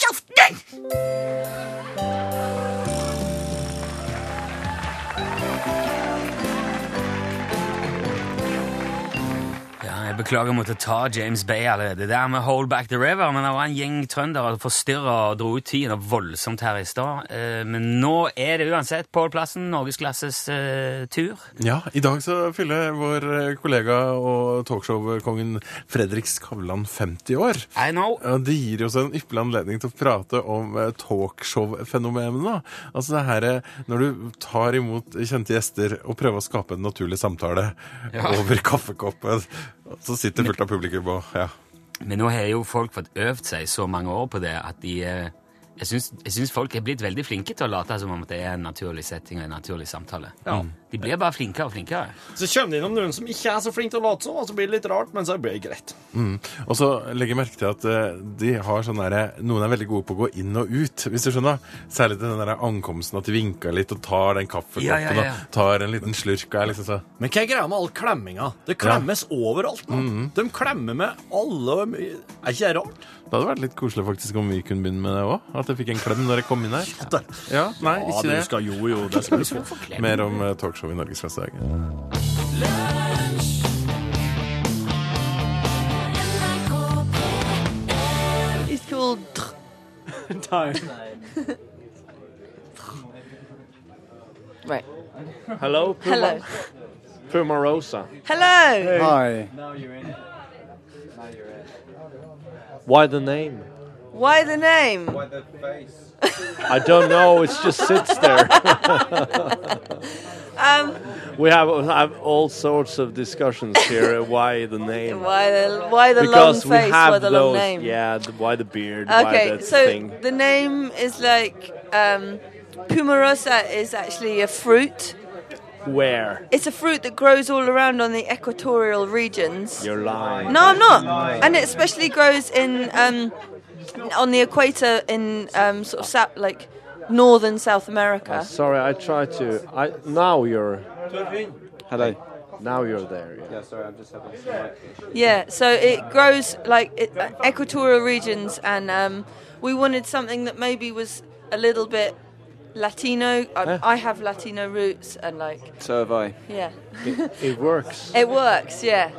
S6: Kjeften din!
S2: Beklager å måtte ta James Bay allerede. Det er med Hold Back the River, men det var en gjeng trøndere som forstyrra og dro ut tiden og voldsomt her i stad. Eh, Men nå er det uansett Pål Plassen, norgesklasses eh, tur.
S7: Ja, I dag så fyller vår eh, kollega og talkshow-kongen Fredrik Skavlan 50 år.
S2: I know.
S7: Ja, Det gir oss en ypperlig anledning til å prate om eh, talkshow-fenomenet. da. Altså det her eh, når du tar imot kjente gjester og prøver å skape en naturlig samtale over kaffekoppen, og så sitter fullt av publikum og ja.
S2: Men nå har jo folk fått øvd seg så mange år på det at de eh, Jeg syns- jeg syns folk er blitt veldig flinke til å late som om det er en naturlig setting og en naturlig samtale. Mm. De blir bare flinkere og flinkere.
S3: Så kommer det innom noen som ikke er så flink til å late som, og så blir det litt rart, men så blir det greit.
S7: Mm. Og så legger jeg merke til at eh, de har sånn derre- Noen er veldig gode på å gå inn og ut, hvis du skjønner. Særlig til den der ankomsten, at de vinker litt og tar den kaffekoppen
S2: Ja, ja, ja.
S7: og tar en liten slurk. og er liksom så,
S3: Men hva er greia med all klemminga? Det klemmes overalt nå. De klemmer med alle og my- Er ikke det rart?
S7: Det hadde vært litt koselig faktisk om vi kunne begynne med det òg. At jeg fikk en klem når jeg kom inn her.
S3: Der.
S7: Ja, nei,
S3: Ja,
S7: ikke
S3: du
S7: det.
S3: skal jo, jo, det skal du få.
S7: Mer om eh, talkshow i Norgesklasse i dag.
S4: It's called Right.
S8: Hello,
S4: Hello.
S8: Puma Rosa.
S4: Hello.
S9: Hi.
S8: Why the name?
S4: Why the name?
S8: I don't know. It just sits there.
S4: Um,
S8: We have, have all sorts of discussions here. uh, Why the name?
S4: why the why the
S8: because
S4: long
S8: we
S4: face?
S8: have
S4: Why the
S8: those.
S4: long name?
S8: Yeah. The, why the beard? why
S4: Okay,
S8: that
S4: so
S8: thing?
S4: the name is like um, Pumarosa is actually a fruit.
S8: Where?
S4: It's a fruit that grows all around on the equatorial regions.
S8: You're lying.
S4: No, I'm not. And it especially grows in um, on the equator in um, sort of south, like northern South America.
S8: Sorry, I tried to. I now you're
S9: Hello.
S8: now you're there. Yeah.
S4: Yeah, so it grows like it, uh, equatorial regions, and um, we wanted something that maybe was a little bit Latino. I, I have Latino roots, and like,
S9: So have I.
S4: yeah,
S8: It works.
S4: it works. Yeah,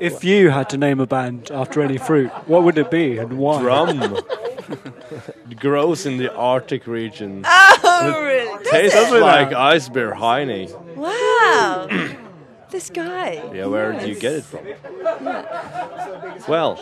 S9: If you had to name a band after any fruit, what would it be and why?
S8: Drum. It grows in the Arctic region.
S4: oh really? Does
S8: Tastes
S4: it?
S8: like ice beer Heine.
S4: Wow, this guy.
S8: Yeah, where do you get it from? well,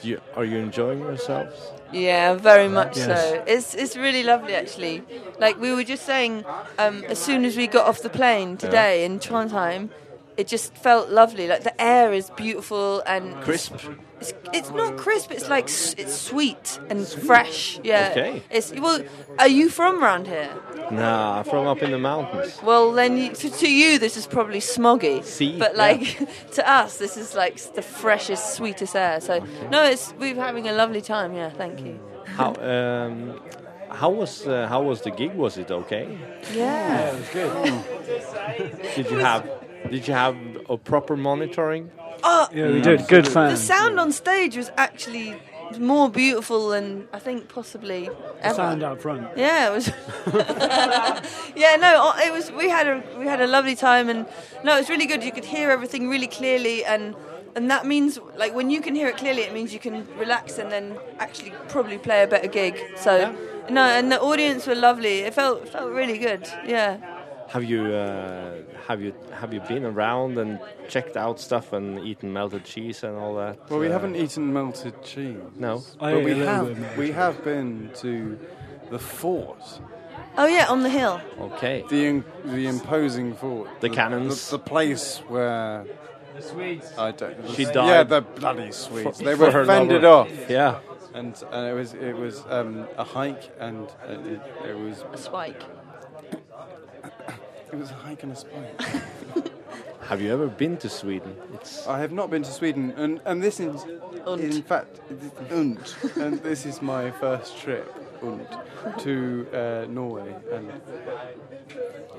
S8: do you, are you enjoying yourselves?
S4: Yeah, very much so. It's it's really lovely actually. Like we were just saying, um, as soon as we got off the plane today in Trondheim, it just felt lovely. Like the air is beautiful and
S8: Crisp.
S4: It's, it's not crisp. It's like s- it's sweet and fresh. Yeah.
S8: Okay.
S4: It's well. Are you from around here?
S8: Nah, from up in the mountains.
S4: Well, then you, to, to you this is probably smoggy.
S8: See,
S4: But
S8: yeah.
S4: like to us, this is like s- the freshest, sweetest air. So no, it's we're having a lovely time. Yeah. Thank you.
S8: How um, how was uh, how was the gig? Was it okay?
S4: Yeah.
S8: Did you have did you have a proper monitoring?
S4: Oh,
S9: Yeah, we did. Good
S4: The
S9: fans.
S4: sound on stage was actually more beautiful than I think possibly ever.
S9: Sound out front.
S4: Yeah, it was. yeah, no, it was. We had a we had a lovely time, and no, it was really good. You could hear everything really clearly, and and that means like when you can hear it clearly, it means you can relax and then actually probably play a better gig. So. No, and the audience were lovely. It felt felt really good. Yeah,
S8: Have you uh, have you have you been around and checked out stuff and eaten melted cheese and all that?
S9: Well, we
S8: Uh,
S9: haven't eaten melted cheese.
S8: No.
S9: But
S8: But
S9: we
S8: we
S9: have we have been to the fort,
S4: Oh yeah, on the hill.
S8: Okay.
S9: the in, the imposing fort,
S8: The cannons.
S9: the, the place where I don't.
S8: She
S9: Yeah,
S8: died.
S9: the bloody Swedes.
S8: For-
S9: they
S8: for
S9: were
S8: her
S9: fended
S8: lover.
S9: off,
S8: Yeah.
S9: and, and it was it was um, a hike, and uh, it, it was
S4: A spike.
S9: it was a hike and a spike.
S8: Have you ever been to Sweden? It's
S9: I have not been to Sweden, and, and this is, in fact, und, and this is my first trip und, to uh, Norway, and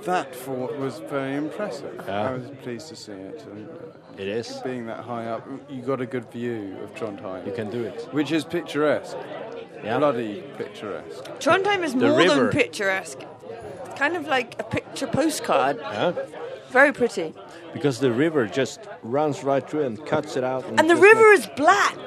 S9: that fort was very impressive.
S8: Yeah.
S9: I was pleased to see it, and uh,
S8: it is.
S9: being that high up, you got a good view of Trondheim,
S8: You can do it.
S9: which is picturesque,
S8: Yeah.
S9: bloody picturesque.
S4: Trondheim is
S8: The
S4: more
S8: river.
S4: than picturesque. It's kind of like a picture postcard.
S8: Yeah.
S4: Very pretty.
S8: uh, because the river just runs right through and cuts it out.
S4: And the
S8: just like-
S4: river is black.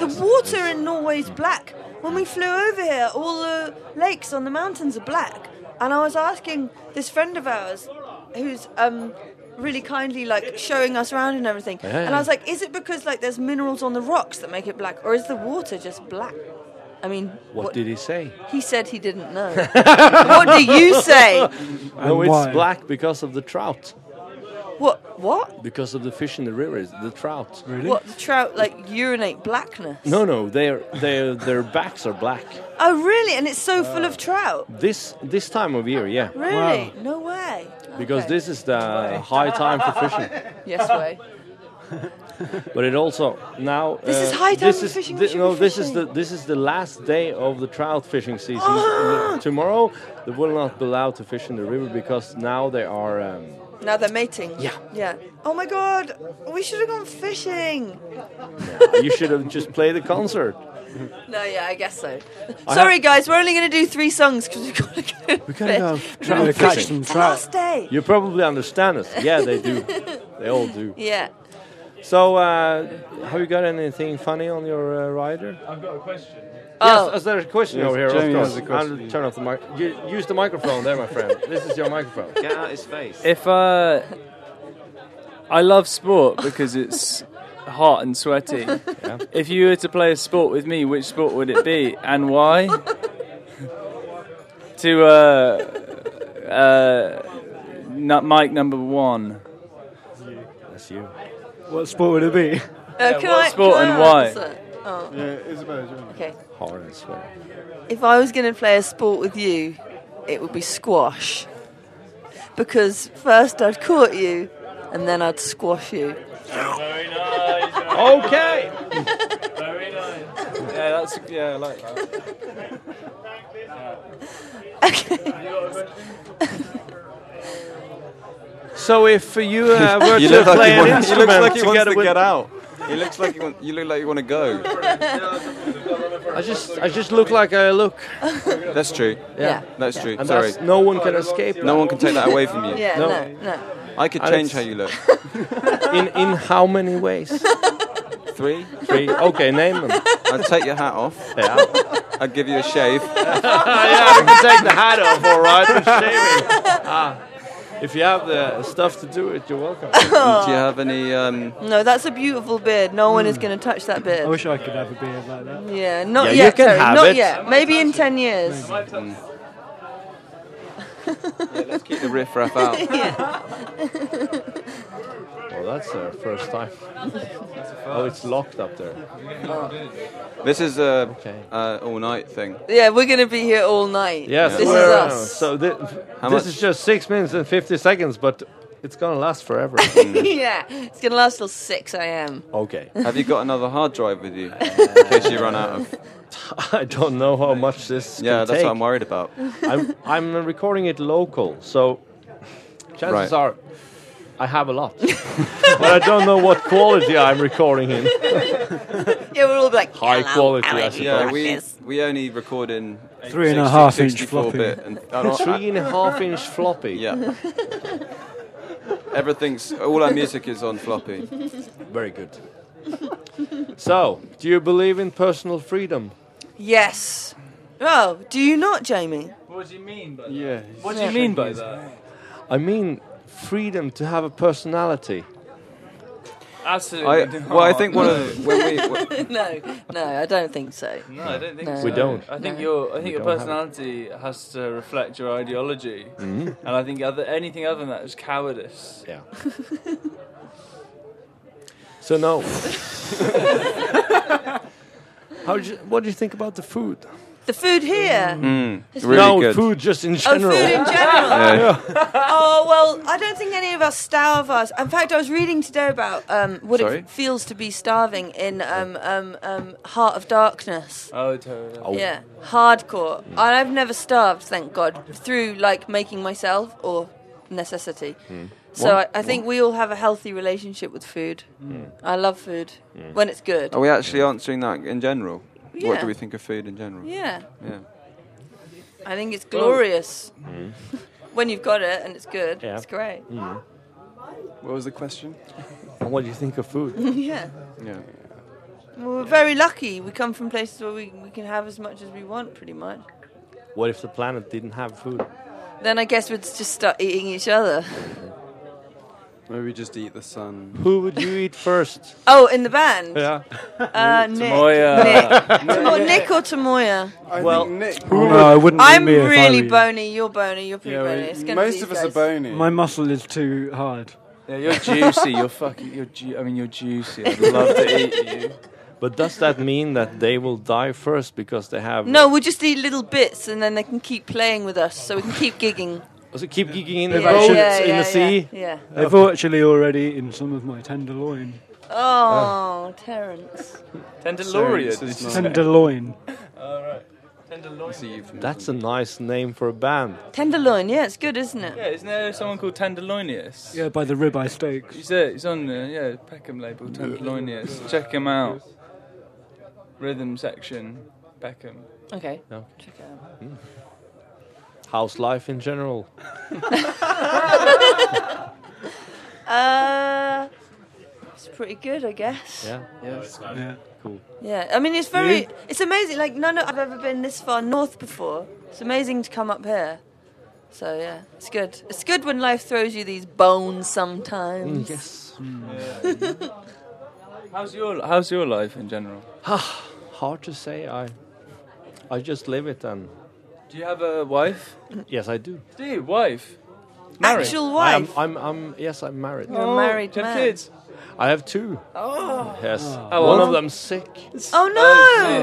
S4: The water in Norway is black. When we flew over here, all the lakes on the mountains are black. And I was asking this friend of ours, who's um, really kindly like showing us around and everything. And I was like, is it because like there's minerals on the rocks that make it black, or is the water just black? I mean,
S8: What, did he say?
S4: he said? He didn't know. what do you say?
S8: No, Oh, it's
S9: why?
S8: black because of the trout.
S4: What? What?
S8: Because of the fish in the river, it's the trout. Really?
S4: What? The trout like urinate blackness?
S8: No, no, their their their backs are black.
S4: Oh, really? And it's
S8: Uh,
S4: so full of trout.
S8: This this time of year, yeah,
S4: Really? No way.
S8: because
S4: Okay.
S8: this is the high time for fishing.
S4: Yes way.
S8: But it also now
S4: This is high time for fishing, we
S8: thi-
S4: should
S8: no,
S4: be
S8: this is the
S4: fishing.
S8: this is the last day of the trout fishing season.
S4: Ah!
S8: Tomorrow they will not be allowed to fish in the river because now they are. Um,
S4: Now they're mating.
S8: Yeah.
S4: Yeah. Oh my god, we should have gone fishing.
S8: you should have just played the concert.
S4: No, yeah, I guess so. Sorry, guys, we're only going to do three songs because we've got to go. We
S8: gotta go trout
S9: Gotta catch some trout.
S4: Last day.
S8: You probably understand us. Yeah, they do. they all do.
S4: Yeah.
S8: So, uh, have you got anything funny on your uh, rider?
S4: Oh,
S8: Is there a question
S9: Yes,
S8: over here?
S9: Jamie
S8: of
S9: has
S8: course.
S9: a question.
S8: I'll turn off the mic. You- Use the microphone there, my friend. this is your microphone. Get out his face.
S10: If uh, I love sport because it's hot and sweaty. If you were to play a sport with me, which sport would it be and why? to uh, uh, nu- mic number one.
S8: That's you.
S9: What sport would it be?
S4: uh, can
S10: what
S4: I,
S10: sport
S4: can I
S10: and why?
S4: answer? Oh,
S9: Yeah, Isabella, do you want
S4: okay.
S8: Hard and sweaty.
S4: If I was going to play a sport with you, it would be squash. Because first I'd court you, and then I'd squash you.
S8: Okay.
S10: Yeah, that's yeah, I like that.
S8: So, if you uh, were
S3: You
S8: to
S3: look like
S8: play
S3: he
S8: an
S3: wants- he looks
S8: instrument
S3: like he wants
S8: together
S3: to
S8: with,
S3: get out. He looks like he want, you look like you want to go.
S8: I just, I just look like I look.
S3: That's true.
S4: Yeah.
S3: That's true.
S8: And
S3: Sorry.
S8: that's, no one can escape.
S3: No one can take that away from you.
S4: Yeah,
S8: No.
S4: no, no.
S3: I could
S8: Alex.
S3: change how you look.
S8: In, in how many ways?
S3: Three.
S8: Three. Okay, name them.
S3: I'd take your hat off.
S8: Yeah.
S3: I'd give you a shave.
S8: yeah, I can take the hat off, all right. I'm shaving. Ah, if you have the stuff to do it, you're welcome.
S3: And
S4: Oh.
S3: Do you have any? Um,
S4: No, that's a beautiful beard. No one is going to touch that beard.
S9: I wish I could have a beard like that.
S4: Yeah, not
S8: Hmm. Yeah, you
S4: yet.
S8: can
S4: sorry,
S8: have
S4: not
S8: it.
S4: yet. Maybe in ten years.
S3: keep the riff raff out.
S8: Well, that's our first time. Oh, it's locked up there.
S3: This is a
S8: Okay.
S3: uh, all night thing.
S4: Yeah, we're gonna be here all night.
S8: Yes,
S4: this is
S8: we're-
S4: us.
S8: So thi-
S3: How
S8: this
S3: much?
S8: is just six minutes and fifty seconds, but it's gonna last forever.
S3: Mm.
S4: yeah, it's gonna last till six a.m.
S8: okay.
S3: Have you got another hard drive with you in case you run out of?
S8: I don't know how much this.
S3: Yeah,
S8: can
S3: that's
S8: take.
S3: what I'm worried about.
S8: I'm, I'm recording it local, so chances
S3: Right.
S8: are I have a lot, but I don't know what quality I'm recording in.
S4: Yeah, we're all like
S8: High
S4: "Hello,
S8: quality, I
S4: Alex,
S8: suppose.
S3: Yeah,
S4: like
S3: we
S4: this."
S3: we only record in
S9: Three and a
S3: 60
S9: half inch
S3: 64
S9: floppy.
S3: bit and I don't- I-
S8: Three and a half inch floppy.
S3: yeah. Everything's all our music is on floppy.
S8: Very good. so, do you believe in personal freedom?
S4: Yes. Oh, do you not, Jamie?
S10: What do you mean by that?
S9: Yeah.
S10: What do you mean by that?
S8: I mean, freedom to have a personality.
S10: Absolutely.
S3: I,
S10: not.
S3: well, I think one of the, when we
S4: no, no, I don't think so.
S10: No, I don't think
S4: No.
S10: so.
S4: We
S8: don't.
S10: I think your I think your
S8: don't have it.
S10: personality has to reflect your ideology,
S3: Mm-hmm.
S10: and I think other, anything other than that is cowardice.
S8: Yeah. so no. How do you, what do you think about the food?
S4: The food here.
S8: Hmm.
S3: Mm. really
S8: no,
S3: good.
S8: food just in
S4: Mm. Oh,
S8: general.
S4: food in general.
S3: Yeah.
S4: Oh well, I don't think any of us starve us. In fact, I was reading today about um, what
S3: Sorry?
S4: it feels to be starving in um, um, um, Heart of Darkness.
S10: Oh, totally.
S4: Yeah, hardcore. And I've never starved, thank God, through like making myself or necessity.
S3: Hmm.
S4: So I, I think we all have a healthy relationship with food. I love food when it's good.
S3: Hmm. are we actually answering that in general? What
S4: Yeah.
S3: do we think of food in general?
S4: Yeah,
S3: Yeah. Hmm.
S4: I think it's glorious when you've got it and it's good.
S8: Yeah. Mm-hmm.
S4: It's great.
S9: What was the question?
S8: what do you think of food?
S4: yeah.
S9: Yeah.
S4: Well, we're very lucky. We come from places where we, we can have as much as we want, pretty much.
S8: What if the planet didn't have food?
S4: Then I guess we'd just start eating each other.
S9: Maybe just eat the sun.
S8: Who would you eat first?
S4: Oh, in the band?
S8: Yeah.
S4: Uh, Nick.
S10: Tamoya.
S4: Nick. Tamo- Nick or Tamoya?
S9: I
S8: Well,
S9: think Nick.
S3: Oh, no, it wouldn't be
S4: I'm
S3: me if I
S4: really
S3: were you.
S4: bony. You're bony. You're pretty
S9: Yeah,
S4: bony.
S9: we-
S4: It's gonna be
S9: most
S4: you
S9: of us are
S4: guys.
S9: bony.
S3: My muscle is too hard.
S10: Yeah, you're juicy. You're fucking. You're. Ju- I mean, you're juicy. I'd love to eat you.
S8: But does that mean that they will die first because they have
S4: No, we'll just eat little bits, and then they can keep playing with us, so we can keep gigging.
S8: So keep gigging in the
S4: Yeah,
S8: ocean,
S4: yeah,
S8: in
S4: yeah,
S8: the sea?
S4: Yeah. yeah.
S3: They've actually already eaten some of my tenderloin.
S4: Oh, Terence.
S10: Tenderloin.
S9: Sorry, this is not-
S3: Tenderloin.
S9: it's a euphemism.
S8: That's a nice name for a band.
S4: Tenderloin. Yeah, it's good, isn't it?
S10: Yeah, isn't there someone called Tenderloinius?
S3: Yeah, by the ribeye steaks.
S10: He's, uh, he's on uh, yeah Peckham label Tenderloinius. Check him out. Rhythm section, Beckham.
S4: Okay.
S8: No.
S4: Check it out.
S8: How's life in general?
S4: Uh, it's pretty good, I guess.
S8: Yeah.
S3: Yeah.
S4: Yeah, I mean it's very, it's amazing. Like none of I've ever been this far north before. It's amazing to come up here. So yeah, it's good. It's good when life throws you these bones sometimes.
S8: Yes.
S10: How's your How's your life in general?
S8: Hard to say. I I just live it and
S10: Do you have a Uh, wife?
S8: yes, I do.
S10: Do you wife? Married?
S4: Actual
S8: I am,
S4: wife.
S8: I'm I'm yes, I'm married.
S4: You're a married
S10: Do you have
S4: man.
S10: kids?
S8: I have two. Oh. Yes.
S10: Oh,
S8: One
S10: well.
S8: of them's sick.
S4: Oh
S10: Oh,
S4: no!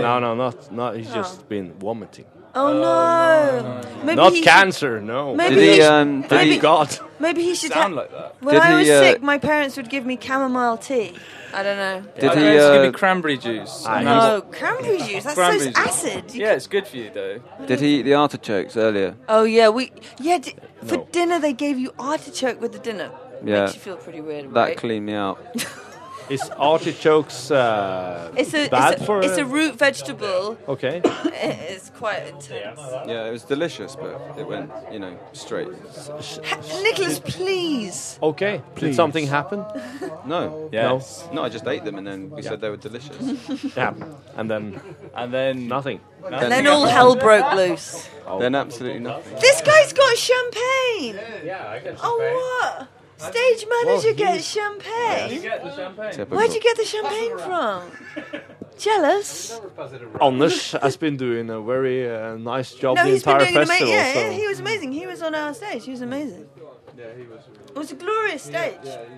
S8: No, no, not not he's just been vomiting.
S4: Oh no! Maybe
S8: not
S4: he
S8: cancer, no.
S4: Maybe
S10: Did
S4: he
S10: he?
S4: should-
S10: Um, did
S8: Thank
S10: he
S8: God.
S4: Maybe he should.
S10: sound
S4: Ha-
S10: like that?
S4: when
S10: did
S4: I
S10: he,
S4: was
S10: uh,
S4: sick, my parents would give me chamomile tea. I don't know.
S10: Did
S8: he,
S10: he
S8: uh,
S10: give me cranberry juice?
S8: I-
S10: And I was-
S4: Oh, cranberry juice. That's
S10: Cranberry
S4: so
S10: juice.
S4: acid. You
S10: yeah, it's good for you though.
S11: Did he eat the artichokes earlier?
S4: Oh yeah, we yeah d- for
S8: No.
S4: dinner they gave you artichoke with the dinner.
S11: Yeah.
S4: Makes you feel pretty weird.
S11: That
S4: right?
S11: cleaned me out.
S8: Is artichokes uh,
S4: It's a
S8: bad
S4: it's a,
S8: for uh,
S4: it's a root vegetable.
S8: okay?
S4: It's quite intense.
S11: Yeah, it was delicious, but it went, you know, straight.
S4: Nicholas, please.
S8: Okay. Did
S3: Please.
S8: something happen?
S11: No.
S10: Yes.
S11: No, I just ate them and then we said they were delicious.
S8: Yeah. And then
S10: And then
S8: nothing.
S4: And then all hell broke loose.
S11: Oh. Then absolutely nothing.
S4: This guy's got champagne. Oh what? Stage manager gets champagne.
S10: Get the champagne.
S4: Where'd you get the champagne from? Jealous?
S8: Anders has been doing a very uh, nice job
S4: No,
S8: the
S4: he's been
S8: entire
S4: doing an amazing.
S8: festival.
S4: Yeah,
S8: so.
S4: yeah, he was amazing. He was on our stage. He was amazing. Yeah, he was. It was a glorious stage.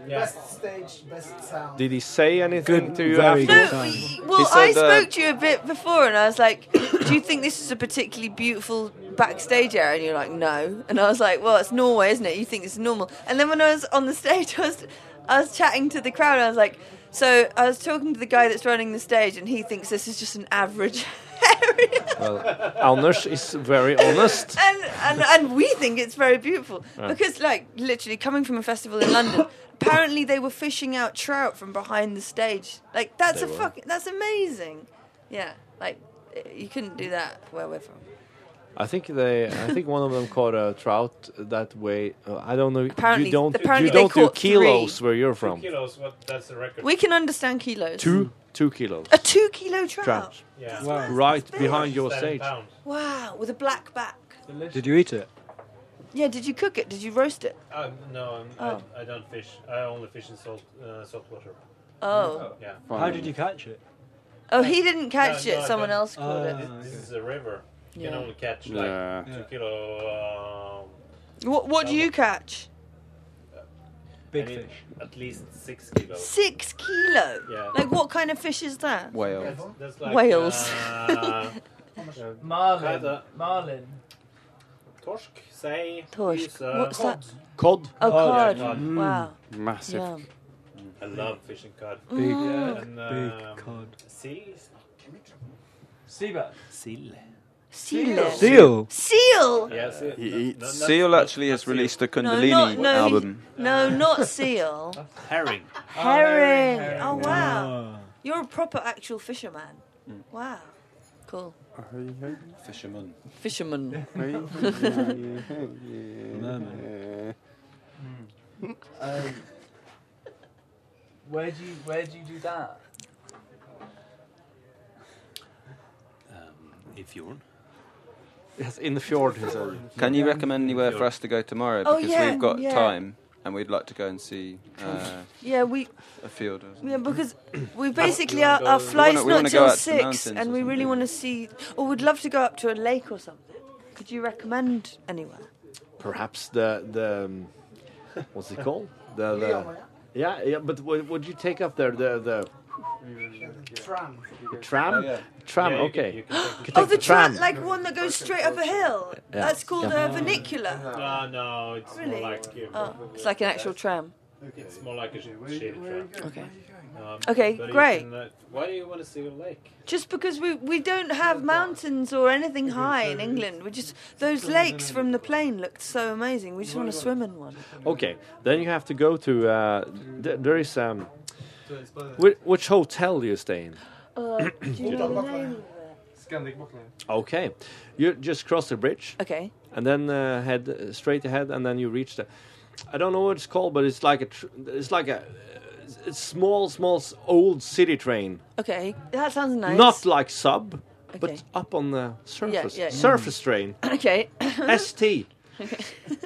S12: Best stage, best sound.
S8: Did he say anything to you
S3: very
S8: after?
S3: good.
S4: No,
S3: time.
S4: we- well,
S11: He said,
S4: I
S11: uh,
S4: spoke to you a bit before, and I was like, "Do you think this is a particularly beautiful backstage area?" And you're like, "No," and I was like, "Well, it's Norway, isn't it? You think it's normal?" And then when I was on the stage, I was, I was chatting to the crowd, and I was like, "So I was talking to the guy that's running the stage, and he thinks this is just an average." area.
S8: Anders is very honest.
S4: and, and and we think it's very beautiful because, like, literally coming from a festival in London, apparently they were fishing out trout from behind the stage. Like, that's a fucking that's amazing. Yeah, like eh, you couldn't do that where we're from.
S8: I think they. I think one of them caught a trout that way. Uh, I don't know.
S4: Apparently-
S8: you don't.
S4: apparently
S8: you
S4: they
S8: don't do
S4: caught three.
S8: kilos where you're from.
S12: Kilos, what, that's the record.
S4: We can understand kilos.
S8: Two, two kilos.
S4: a two kilo trout.
S8: Trout.
S12: Yeah.
S3: Wow.
S8: Right behind your stage.
S12: pounds.
S4: Wow, with a black back.
S3: Did you eat it?
S4: Yeah, did you cook it? Did you roast it?
S12: Um, no, I'm,
S4: Oh.
S12: I, I don't fish. I only fish in salt, uh, salt water.
S4: Oh,
S12: Yeah.
S3: How did you catch it?
S4: oh, he didn't catch
S12: No,
S4: it.
S12: no, I Uh,
S4: Someone
S12: don't-
S4: else caught
S3: Ah,
S4: it.
S12: This is a river. You can
S4: Yeah.
S12: only catch like
S9: Yeah.
S12: two kilo, um,
S4: What What do you catch?
S12: I
S3: Big
S12: mean,
S3: fish.
S12: at least six kilos.
S4: Six kilo.
S12: Yeah.
S4: Like, what kind of fish is that?
S11: Whale.
S12: That's, that's like,
S4: Whales.
S12: Uh,
S10: Marlin.
S12: Marlin.
S10: Marlin.
S12: torsk, say.
S4: Torsk.
S12: is, uh,
S4: What's that?
S8: Cod.
S4: Oh,
S12: yeah,
S4: cod.
S12: cod.
S4: Wow.
S11: Massive.
S4: Yum. Mm.
S12: I love fishing cod.
S3: Big,
S12: And, um,
S3: big cod.
S12: Sea is
S10: Seabat.
S4: Seal.
S3: Seal.
S4: Seal.
S12: Yes, it-
S11: He
S12: no-
S11: eats.
S12: no- not-
S11: Seal
S12: not-
S11: actually
S12: not
S11: has released a
S4: No,
S11: Kundalini
S4: not- no, he-
S11: album.
S4: No, not seal.
S12: seal. herring.
S4: herring. Oh wow. You're a proper actual fisherman.
S11: Mm.
S4: Wow. Cool.
S3: Ah.
S9: Fisherman.
S4: Fisherman.
S3: Merman.
S10: Um, Where do you Where do you do that?
S12: I fjorden.
S11: Yes, in the fjord.
S12: he said.
S11: Can you recommend anywhere for us to go tomorrow?
S4: Oh,
S11: Because
S4: yeah,
S11: we've got
S4: yeah.
S11: time and we'd like to go and see uh,
S4: Yeah, we
S11: a field. Or
S4: yeah because we basically
S11: wanna
S4: our, our
S11: go- We
S4: flight's
S11: wanna- we
S4: not
S11: wanna go
S4: till
S11: out to the
S4: six,
S11: mountains
S4: and
S11: or
S4: we really want to see. Or we'd love to go up to a lake or something. Could you recommend anywhere?
S8: Perhaps the the um, what's it called? The, the yeah, yeah. But what would you take up there? The the
S10: Tram.
S8: tram, tram. okay. Could
S4: Oh,
S8: take
S4: the tram, like one that goes straight up a hill.
S8: Yeah.
S4: That's called
S8: Yeah.
S4: a vernacular.
S12: No, Ah, no, it's
S4: Really?
S12: more like. um,
S4: Oh, it's like an actual tram.
S12: It's more like a shaded tram.
S4: Okay.
S12: Um,
S4: Okay,
S12: but you
S4: great.
S12: can, uh, why do you want to see a lake?
S4: Just because we, we don't have mountains or anything high in England, we just those lakes from the plain looked so amazing. We just want to swim in one.
S8: Okay, then you have to go to. Uh, th- there is um, which, which hotel do you stay in?
S4: Uh, do you know the name?
S10: Scandic Buckland.
S8: Okay, you just cross the bridge.
S4: Okay.
S8: and then uh, head uh, straight ahead, and then you reach the. I don't know what it's called, but it's like a. Tr- it's like a. uh, It's small, small, s- old city train.
S4: Okay, that sounds nice.
S8: Not like sub,
S4: Okay.
S8: but up on the surface.
S4: yeah, yeah.
S8: Surface train.
S4: Okay.
S8: ST.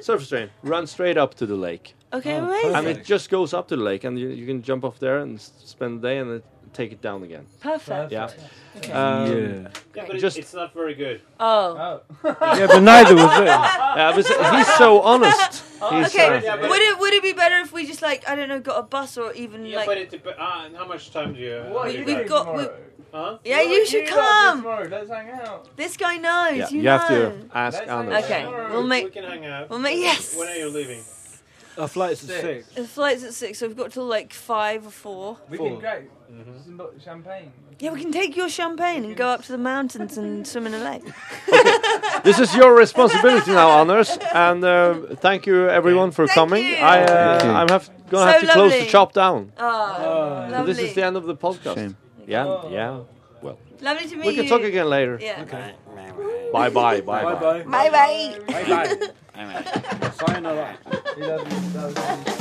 S8: surface train. Run straight up to the lake.
S4: Okay, amazing.
S8: And it just goes up to the lake, and you, you can jump off there and s- spend the day, and then take it down again.
S4: Perfect.
S8: Yeah.
S4: Okay.
S8: Um,
S12: Yeah, but it-
S8: Just-
S12: it's not very good.
S4: Oh.
S8: Yeah, but neither was it. Yeah, but he's so honest. He's
S4: Oh,
S8: uh,
S4: okay.
S8: so-
S4: would it would it be better if we just like I don't know got a bus or even
S12: Yeah,
S4: like
S12: but it dep- ah, and how much time do you?
S4: What are
S12: do
S4: you
S12: got?
S4: doing got- we-
S12: Huh?
S4: yeah you should come.
S10: Let's hang out.
S4: This guy knows.
S8: Yeah,
S4: you,
S8: you have to
S4: know.
S8: ask Let's hang Anders. out.
S4: Okay, we'll make.
S12: We can hang out.
S4: We'll make yes.
S12: When are you leaving?
S8: Our flight's
S12: at six.
S4: The flight's at six, so we've got till like five or four. Mm-hmm.
S10: We can go. Just a bottle of champagne.
S4: Yeah, we can take your champagne and go up to the mountains and swim in a lake.
S8: this is your responsibility now, Anders. And uh, thank you, everyone, for coming. I,
S13: Thank
S8: uh,
S13: you.
S8: I'm have, gonna
S4: So
S8: have to close the
S4: lovely.
S8: shop down.
S4: Oh,
S8: So
S4: lovely.
S8: this is the end of the podcast. Yeah, yeah. Well,
S4: Lovely to meet
S8: we can
S4: you.
S8: talk again later.
S4: Yeah.
S8: Bye, bye, bye, bye.
S4: Bye bye.
S8: Bye-bye.
S10: Sayonara. He doesn't- doesn't-